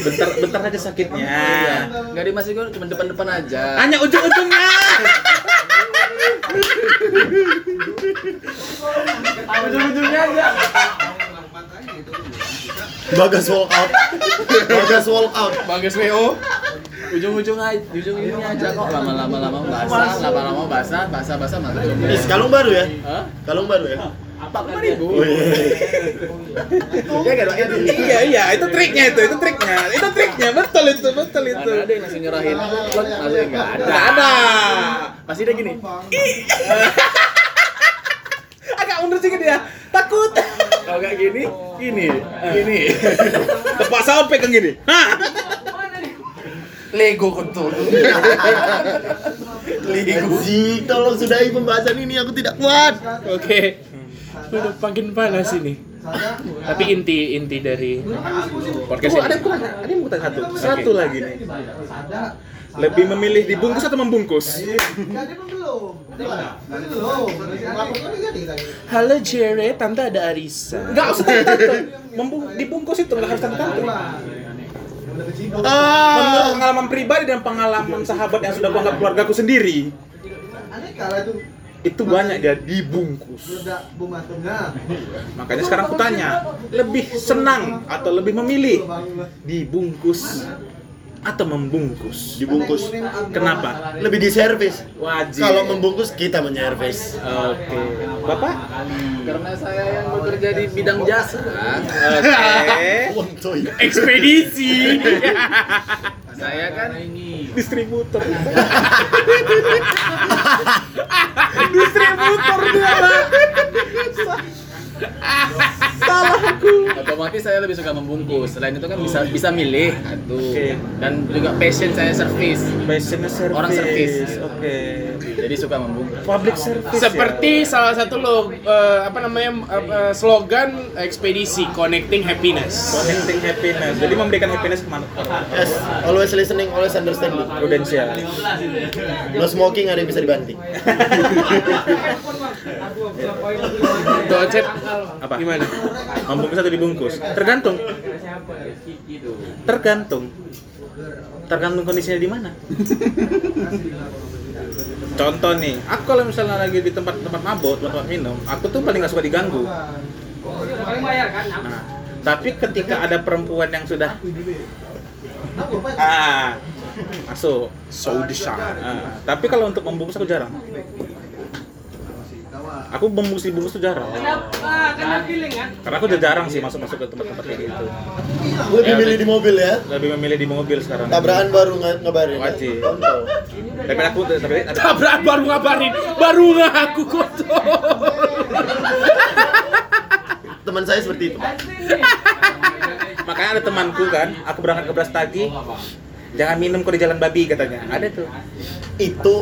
[SPEAKER 1] Bentar, bentar aja
[SPEAKER 8] Oh,
[SPEAKER 1] sakitnya.
[SPEAKER 8] iya. Enggak dimasih gue cuma depan-depan aja.
[SPEAKER 1] Hanya ujung-ujungnya.
[SPEAKER 4] Bagas walk out. Bagas walk out.
[SPEAKER 2] Bagas WO.
[SPEAKER 8] Ujung-ujung aja, ujung-ujungnya aja kok lama-lama lama basah, lama-lama basah, basah-basah masuk jumlah.
[SPEAKER 4] Is kalung baru ya?
[SPEAKER 8] Hah?
[SPEAKER 4] Kalung baru ya?
[SPEAKER 8] Apa kan
[SPEAKER 4] Oh,
[SPEAKER 8] ribu?
[SPEAKER 4] iya.
[SPEAKER 1] Iya, iya, itu triknya itu, itu triknya. Itu triknya, betul itu, betul
[SPEAKER 8] Nggak
[SPEAKER 1] itu.
[SPEAKER 8] ada yang langsung nyerahin. Plot masuk enggak ada.
[SPEAKER 1] Enggak ada.
[SPEAKER 8] Pasti dia gini.
[SPEAKER 1] Agak mundur sedikit dia. Takut.
[SPEAKER 8] Kalau nggak gini, gini, gini.
[SPEAKER 1] Tepat sampai kan gini. Hah?
[SPEAKER 2] Lego kotor.
[SPEAKER 4] Anjing, tolong sudahi pembahasan ini aku tidak kuat.
[SPEAKER 2] Oke. Udah makin panas ini. Tapi inti inti dari podcast
[SPEAKER 1] Oh, ada
[SPEAKER 2] ini.
[SPEAKER 1] kurang, ada yang mau tanya satu. Satu lagi nih. Lebih memilih dibungkus atau membungkus?
[SPEAKER 2] Halo Jere, tante ada Arisa.
[SPEAKER 1] Enggak usah tante. Membung dibungkus itu enggak harus tante. Menurut
[SPEAKER 4] Ah.
[SPEAKER 1] pengalaman pribadi dan pengalaman sahabat yang sudah kuanggap keluargaku sendiri, itu banyak dia dibungkus. Makanya sekarang aku tanya, lebih senang atau lebih memilih dibungkus atau membungkus?
[SPEAKER 4] Dibungkus.
[SPEAKER 1] Kenapa?
[SPEAKER 4] Lebih di servis.
[SPEAKER 1] Wajib.
[SPEAKER 4] Kalau membungkus kita menyervis.
[SPEAKER 1] Oke. Bapak?
[SPEAKER 8] Karena saya yang bekerja di bidang jasa,
[SPEAKER 1] Oke.
[SPEAKER 4] Wontoy.
[SPEAKER 2] Ekspedisi.
[SPEAKER 8] saya kan
[SPEAKER 1] Distributor. Distributor dia. Pak.
[SPEAKER 8] otomatis saya lebih suka membungkus. Selain itu kan bisa bisa milih satu.
[SPEAKER 1] Oke.
[SPEAKER 8] Dan juga passion saya service.
[SPEAKER 1] Passionnya service.
[SPEAKER 8] Orang service.
[SPEAKER 1] Oke.
[SPEAKER 8] Jadi suka membungkus.
[SPEAKER 1] Public service. ya?
[SPEAKER 2] Seperti salah satu lo eh, apa namanya eh, eh, slogan ekspedisi connecting happiness.
[SPEAKER 1] connecting happiness. Jadi memberikan happiness kemana?
[SPEAKER 4] Yes, always listening, always understanding.
[SPEAKER 1] Prudensial.
[SPEAKER 4] No smoking ada yang bisa dibanting.
[SPEAKER 2] Tuh, Cep.
[SPEAKER 1] Apa?
[SPEAKER 2] Gimana?
[SPEAKER 1] Membungkus atau dibungkus? Tergantung. Tergantung. Tergantung kondisinya di mana. (laughs) Contoh nih, aku kalau misalnya lagi di tempat-tempat mabok, tempat minum, aku tuh paling nggak suka diganggu. Nah, tapi ketika ada perempuan yang sudah ah masuk,
[SPEAKER 2] So desire.
[SPEAKER 1] Ah, tapi kalau untuk membungkus aku jarang. Aku membungkus dibungkus tuh jarang. Karena aku udah jarang sih masuk-masuk ke tempat-tempat kayak gitu.
[SPEAKER 4] Lebih milih di mobil ya.
[SPEAKER 1] Lebih memilih di mobil sekarang.
[SPEAKER 4] Tabrakan baru nge- ngabarin.
[SPEAKER 1] Wajib.
[SPEAKER 4] Kontol.
[SPEAKER 1] Tapi aku tapi tapi-
[SPEAKER 2] Tabrak baru ngabarin, baru ngaku kotor.
[SPEAKER 4] Teman saya seperti itu.
[SPEAKER 1] makanya ada temanku kan, aku berangkat ke Brastagi. Jangan minum kok di jalan babi katanya. Ada tuh.
[SPEAKER 4] Itu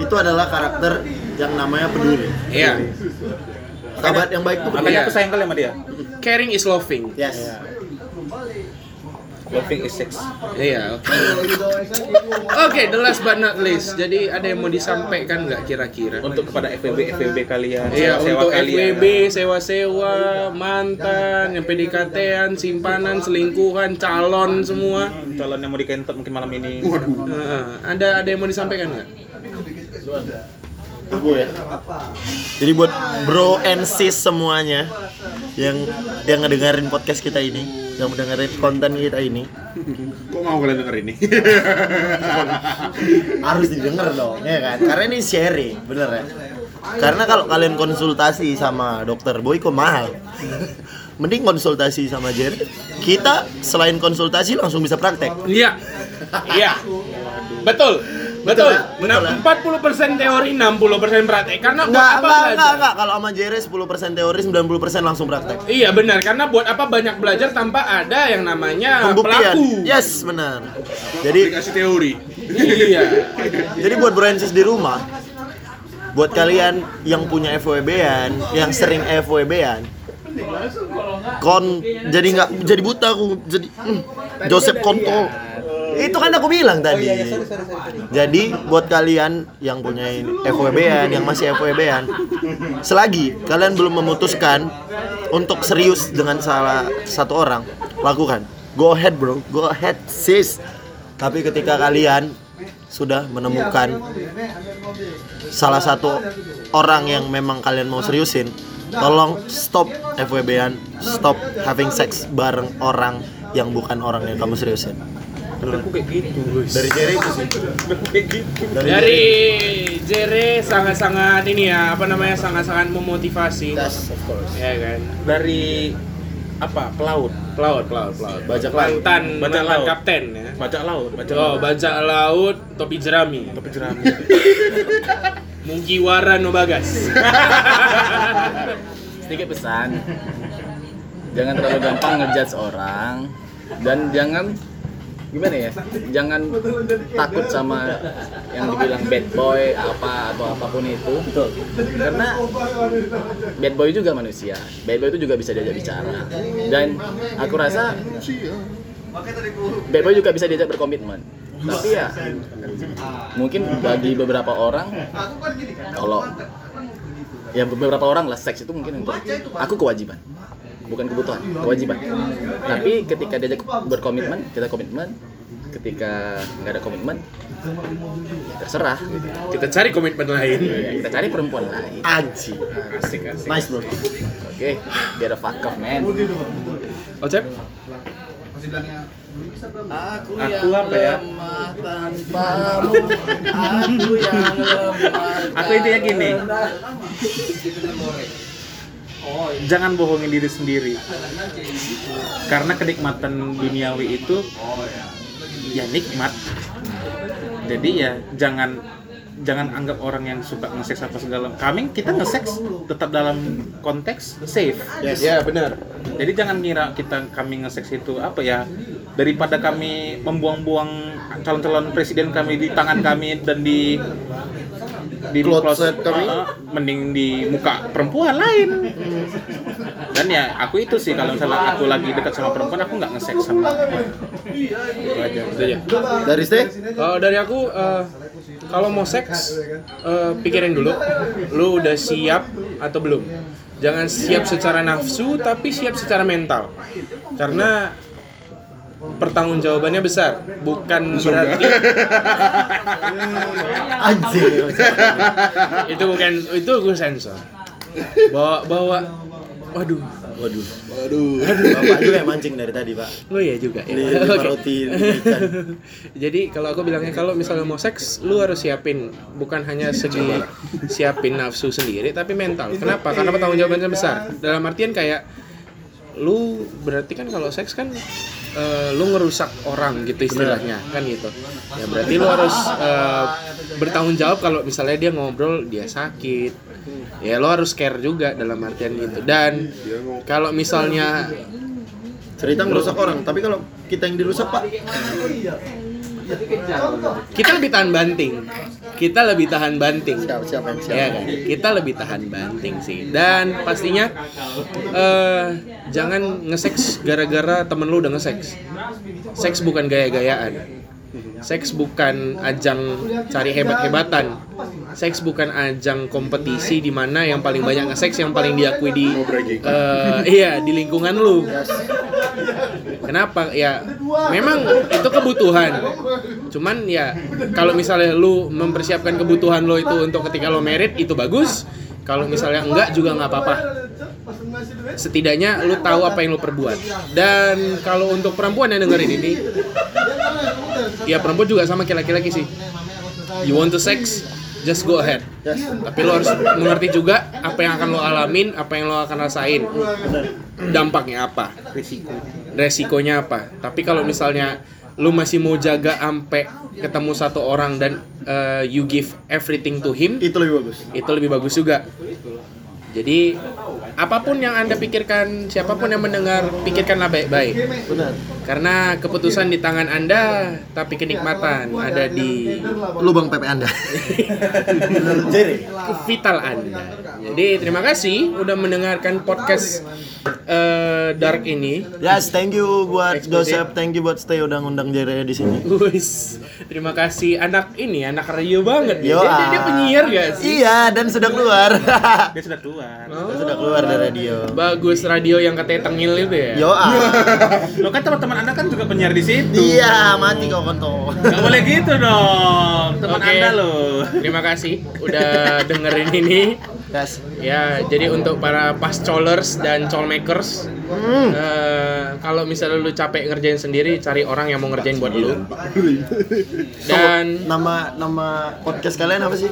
[SPEAKER 4] itu adalah karakter yang namanya peduli.
[SPEAKER 2] Iya.
[SPEAKER 4] Sahabat yang baik itu peduli.
[SPEAKER 1] Makanya aku sayang kali sama dia.
[SPEAKER 2] Caring is loving.
[SPEAKER 4] Yes.
[SPEAKER 1] Loving is sex.
[SPEAKER 2] Iya. Oke, the last but not least. Jadi ada yang mau disampaikan nggak kira-kira?
[SPEAKER 1] Untuk kepada FWB FWB kalian,
[SPEAKER 2] Iya,
[SPEAKER 1] sewa-sewa
[SPEAKER 2] untuk
[SPEAKER 1] kalian.
[SPEAKER 2] FWB, sewa-sewa, mantan, yang PDKT-an, simpanan, selingkuhan, calon semua.
[SPEAKER 1] Calon yang mau dikentut mungkin malam ini.
[SPEAKER 6] Waduh.
[SPEAKER 2] Heeh. ada ada yang mau disampaikan nggak?
[SPEAKER 4] Aku ya. Jadi buat bro and sis semuanya yang yang ngedengerin podcast kita ini, yang mendengarin konten kita ini
[SPEAKER 6] Kok mau kalian denger ini?
[SPEAKER 4] harus didengar dong, ya kan? Karena ini sharing, bener ya. Karena kalau kalian konsultasi sama dokter Boyko mahal. Mending konsultasi sama Jer. Kita selain konsultasi langsung bisa praktek.
[SPEAKER 2] Iya. Iya. Betul.
[SPEAKER 4] Betul
[SPEAKER 2] Betul.
[SPEAKER 4] ya? Betul ya?
[SPEAKER 2] Nah, 40% teori, 60% praktek. Karena buat
[SPEAKER 4] Enggak,
[SPEAKER 2] apa
[SPEAKER 4] enggak, enggak,
[SPEAKER 2] belajar?
[SPEAKER 4] enggak. Kalau sama Jere 10% teori, 90% langsung praktek.
[SPEAKER 2] Iya benar, karena buat apa banyak belajar tanpa ada yang namanya
[SPEAKER 4] Pembuktian.
[SPEAKER 2] Ah,
[SPEAKER 4] Iya.
[SPEAKER 2] pelaku.
[SPEAKER 4] Yes, benar. Jadi
[SPEAKER 6] Aplikasi teori.
[SPEAKER 2] Iya.
[SPEAKER 4] Jadi buat Broensis di rumah, buat kalian yang punya FWB-an, yang sering FWB-an, kon jadi nggak jadi buta aku jadi hmm, Joseph kontol itu kan aku bilang tadi jadi buat kalian yang punya FWB-an yang masih FWB-an selagi kalian belum memutuskan untuk serius dengan salah satu orang lakukan go ahead bro go ahead sis tapi ketika kalian sudah menemukan salah satu orang yang memang kalian mau seriusin tolong stop FWB-an stop having sex bareng orang yang bukan orang yang kamu seriusin
[SPEAKER 1] Aku kayak gitu.
[SPEAKER 4] dari Jerry itu sih
[SPEAKER 1] Aku kayak gitu.
[SPEAKER 2] Dari Jere sangat-sangat ini ya, apa namanya sangat-sangat memotivasi.
[SPEAKER 8] Yes, of course.
[SPEAKER 2] Ya kan.
[SPEAKER 1] Dari apa? Pelaut.
[SPEAKER 2] Pelaut, pelaut, pelaut.
[SPEAKER 8] Bajak laut.
[SPEAKER 2] Mantan,
[SPEAKER 1] Bajak
[SPEAKER 2] mantan
[SPEAKER 1] laut.
[SPEAKER 2] kapten ya.
[SPEAKER 1] Bajak laut, bajak
[SPEAKER 2] Oh,
[SPEAKER 1] laut.
[SPEAKER 2] bajak laut, topi jerami.
[SPEAKER 1] Tapi jerami.
[SPEAKER 2] Mugiwara no bagas.
[SPEAKER 8] sedikit pesan jangan terlalu gampang ngejudge orang dan jangan gimana ya jangan takut sama yang dibilang bad boy apa atau apapun itu betul karena bad boy juga manusia bad boy itu juga bisa diajak bicara dan aku rasa bad boy juga bisa diajak berkomitmen tapi ya mungkin bagi beberapa orang kalau ya beberapa orang lah seks itu mungkin untuk aku kewajiban bukan kebutuhan kewajiban tapi ketika diajak berkomitmen kita komitmen ketika nggak ada komitmen ya terserah gitu.
[SPEAKER 2] Kita cari komitmen lain.
[SPEAKER 8] Ya, kita cari perempuan lain
[SPEAKER 4] Aji
[SPEAKER 2] Asik, asik.
[SPEAKER 4] nice bro
[SPEAKER 8] oke biar fuck off man
[SPEAKER 2] Ocep?
[SPEAKER 8] aku,
[SPEAKER 2] Aku yang apa ya?
[SPEAKER 8] lemah tanpamu aku yang lemah
[SPEAKER 1] Aku intinya gini. Jangan bohongin diri sendiri. Karena kenikmatan duniawi itu ya nikmat. Jadi ya jangan jangan anggap orang yang suka nge-sex apa segala kami kita nge-sex tetap dalam konteks safe
[SPEAKER 2] Ya, benar.
[SPEAKER 1] jadi jangan ngira kita kami nge-sex itu apa ya daripada kami membuang-buang calon-calon presiden kami di tangan kami dan di di
[SPEAKER 4] Closet
[SPEAKER 1] closet,
[SPEAKER 4] kami.
[SPEAKER 1] uh, mending di muka perempuan lain dan ya aku itu sih kalau misalnya aku lagi dekat sama perempuan aku nggak nge-sex sama perempuan. Itu aja.
[SPEAKER 2] Itu aja.
[SPEAKER 4] dari Ste
[SPEAKER 2] Kalau dari aku, eh, kalau mau seks, eh, pikirin dulu, lu udah siap atau belum? Jangan siap secara nafsu, tapi siap secara mental. Karena pertanggungjawabannya besar, bukan berarti
[SPEAKER 4] Anjir
[SPEAKER 2] itu bukan itu gue sensor. Bawa bawa, waduh,
[SPEAKER 4] waduh
[SPEAKER 6] Waduh.
[SPEAKER 4] bapak juga yang mancing dari tadi pak
[SPEAKER 2] lo ya juga.
[SPEAKER 4] di,
[SPEAKER 2] Ya.
[SPEAKER 4] di
[SPEAKER 2] Oke.
[SPEAKER 4] paroti di ikan
[SPEAKER 2] (laughs) Jadi kalau aku bilangnya kalau misalnya mau seks, lu harus siapin bukan hanya segi siapin nafsu sendiri tapi mental. Kenapa? Karena pertanggung jawabannya besar. Dalam artian kayak lu berarti kan kalau seks kan eh, lu ngerusak orang gitu istilahnya kan gitu. Ya berarti lu harus eh, bertanggung jawab kalau misalnya dia ngobrol dia sakit. Ya lo harus care juga dalam artian gitu. Dan kalau misalnya
[SPEAKER 4] cerita ngerusak orang tapi kalau kita yang dirusak pak
[SPEAKER 2] kita lebih tahan banting. Kita lebih tahan banting.
[SPEAKER 4] siapa siapa yang siapa
[SPEAKER 2] Ya kan? Kita lebih tahan banting sih. Dan pastinya eh jangan nge-sex gara-gara temen lu udah nge-sex. Seks bukan gaya-gayaan. Seks bukan ajang cari hebat-hebatan. Seks bukan ajang kompetisi di mana yang paling banyak nge-sex yang paling diakui di eh, iya di lingkungan lu. Kenapa? Ya memang itu kebutuhan. Cuman ya kalau misalnya lu mempersiapkan kebutuhan lo itu untuk ketika lo merit itu bagus. Kalau misalnya enggak juga nggak apa-apa. Setidaknya lu tahu apa yang lu perbuat. Dan kalau untuk perempuan yang dengerin ini, ya perempuan juga sama kayak laki-laki sih. You want to sex? Just go ahead. Tapi lo harus mengerti juga apa yang akan lo alamin, apa yang lo akan rasain, dampaknya apa resikonya apa. Tapi kalau misalnya lu masih mau jaga ampe ketemu satu orang dan uh, you give everything to him,
[SPEAKER 4] itu lebih bagus
[SPEAKER 2] itu lebih bagus juga. Jadi apapun yang Anda pikirkan, siapapun yang mendengar, pikirkanlah baik-baik.
[SPEAKER 4] benar
[SPEAKER 2] Karena keputusan di tangan Anda, tapi kenikmatan ada di
[SPEAKER 4] lubang PP anda (laughs) Jerry
[SPEAKER 2] vital Anda. Jadi terima kasih udah mendengarkan podcast eh, Dark ini.
[SPEAKER 4] yes thank you buat
[SPEAKER 2] Expose.
[SPEAKER 4] Joseph thank you buat Stay udah ngundang Jerry di sini
[SPEAKER 2] Wis, terima kasih anak ini anak radio banget. ya.
[SPEAKER 4] Yo,
[SPEAKER 2] Dia, dia, dia
[SPEAKER 4] ah.
[SPEAKER 2] penyiar gak sih? Oh.
[SPEAKER 4] iya dan sudah keluar (laughs)
[SPEAKER 1] Dia sudah keluar.
[SPEAKER 4] sudah keluar dari radio
[SPEAKER 2] Bagus radio yang katanya tengil itu ya.
[SPEAKER 4] yo ah.
[SPEAKER 1] Lo kan teman-teman Anda kan juga penyiar di situ.
[SPEAKER 4] iya mati kau kontol
[SPEAKER 1] Gak boleh gitu dong. Teman
[SPEAKER 2] Oke.
[SPEAKER 1] Anda lo.
[SPEAKER 2] Terima kasih udah dengerin ini.
[SPEAKER 4] yes
[SPEAKER 2] Ya, jadi untuk para pascolers dan colmakers,
[SPEAKER 4] Hmm.
[SPEAKER 2] eh, kalau misalnya lu capek ngerjain sendiri, cari orang yang mau ngerjain buat
[SPEAKER 4] Iya.
[SPEAKER 2] lu. Dan
[SPEAKER 4] nama nama podcast kalian apa sih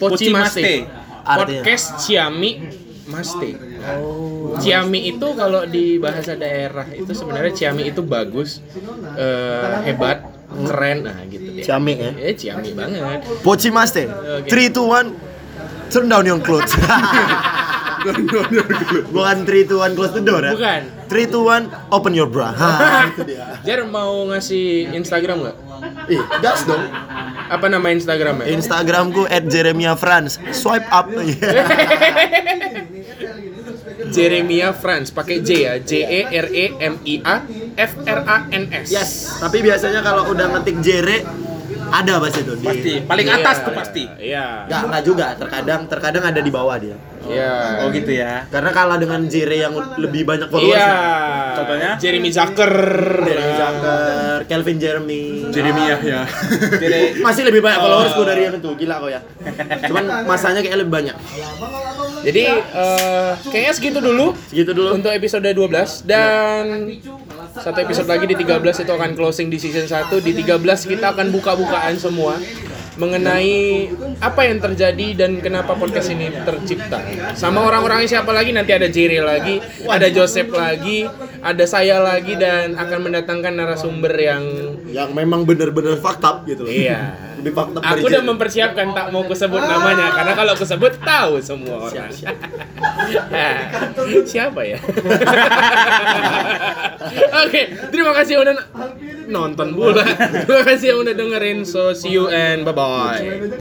[SPEAKER 2] Poci
[SPEAKER 1] Pochimaste.
[SPEAKER 2] Maste. Podcast Ciami Maste. Ciami itu kalau di bahasa daerah itu sebenarnya Ciami itu bagus, eh, hebat, keren, nah gitu deh.
[SPEAKER 4] Ciami ya
[SPEAKER 2] Eh, Ciami banget.
[SPEAKER 4] Pochi Master
[SPEAKER 2] Oke.
[SPEAKER 4] 3 2 1 turn down your
[SPEAKER 2] (laughs)
[SPEAKER 4] clothes bukan 3 2 1 close the door ya
[SPEAKER 2] Bukan.
[SPEAKER 4] 3 2 1 open your bra ha Nah, itu dia
[SPEAKER 2] (laughs) Jar mau ngasih Instagram nggak?
[SPEAKER 4] (laughs) ih gas dong
[SPEAKER 2] Apa nama ya? Instagramnya?
[SPEAKER 4] Instagramku at Jeremia France swipe up
[SPEAKER 2] (laughs) Jeremia Franz pakai J ya J E R E M I A F R A N S
[SPEAKER 4] yes tapi biasanya kalau udah ngetik Jere ada pasti tuh di
[SPEAKER 1] Pasti. Paling
[SPEAKER 2] Iya,
[SPEAKER 1] atas tuh
[SPEAKER 2] iya,
[SPEAKER 1] pasti.
[SPEAKER 2] Iya
[SPEAKER 4] Nggak, nggak juga. Terkadang terkadang ada di bawah dia.
[SPEAKER 2] Iya
[SPEAKER 1] Oh gitu ya.
[SPEAKER 4] Karena kalah dengan Jere yang lebih banyak followers.
[SPEAKER 2] Iya
[SPEAKER 1] Contohnya?
[SPEAKER 2] Jeremy Zucker Nah.
[SPEAKER 4] Jeremy Zucker, Calvin Jeremy.
[SPEAKER 6] Jeremy
[SPEAKER 2] ya.
[SPEAKER 6] Yahya.
[SPEAKER 1] Jadi
[SPEAKER 4] Masih lebih banyak followers gue dari yang itu, gila kau ya. Cuman masanya kayak lebih banyak.
[SPEAKER 2] Jadi eh, kayaknya segitu dulu
[SPEAKER 4] Segitu dulu.
[SPEAKER 2] untuk episode 12 dan satu episode lagi di 13 itu akan closing di season 1 di 13 kita akan buka-bukaan semua mengenai apa yang terjadi dan kenapa podcast ini tercipta sama orang-orangnya siapa lagi nanti ada Jerry lagi ada Joseph lagi ada saya lagi dan akan mendatangkan narasumber yang
[SPEAKER 4] Yang memang bener-bener fucked up gitu loh.
[SPEAKER 2] iya
[SPEAKER 4] Lebih fucked up dari
[SPEAKER 2] Aku udah
[SPEAKER 4] Jerry.
[SPEAKER 2] mempersiapkan tak mau kusebut namanya karena kalau kusebut tahu semua orang. (laughs) Siapa ya? Oke, terima kasih udah (laughs) nonton bola. Terima kasih yang udah dengerin. So see you and bye bye.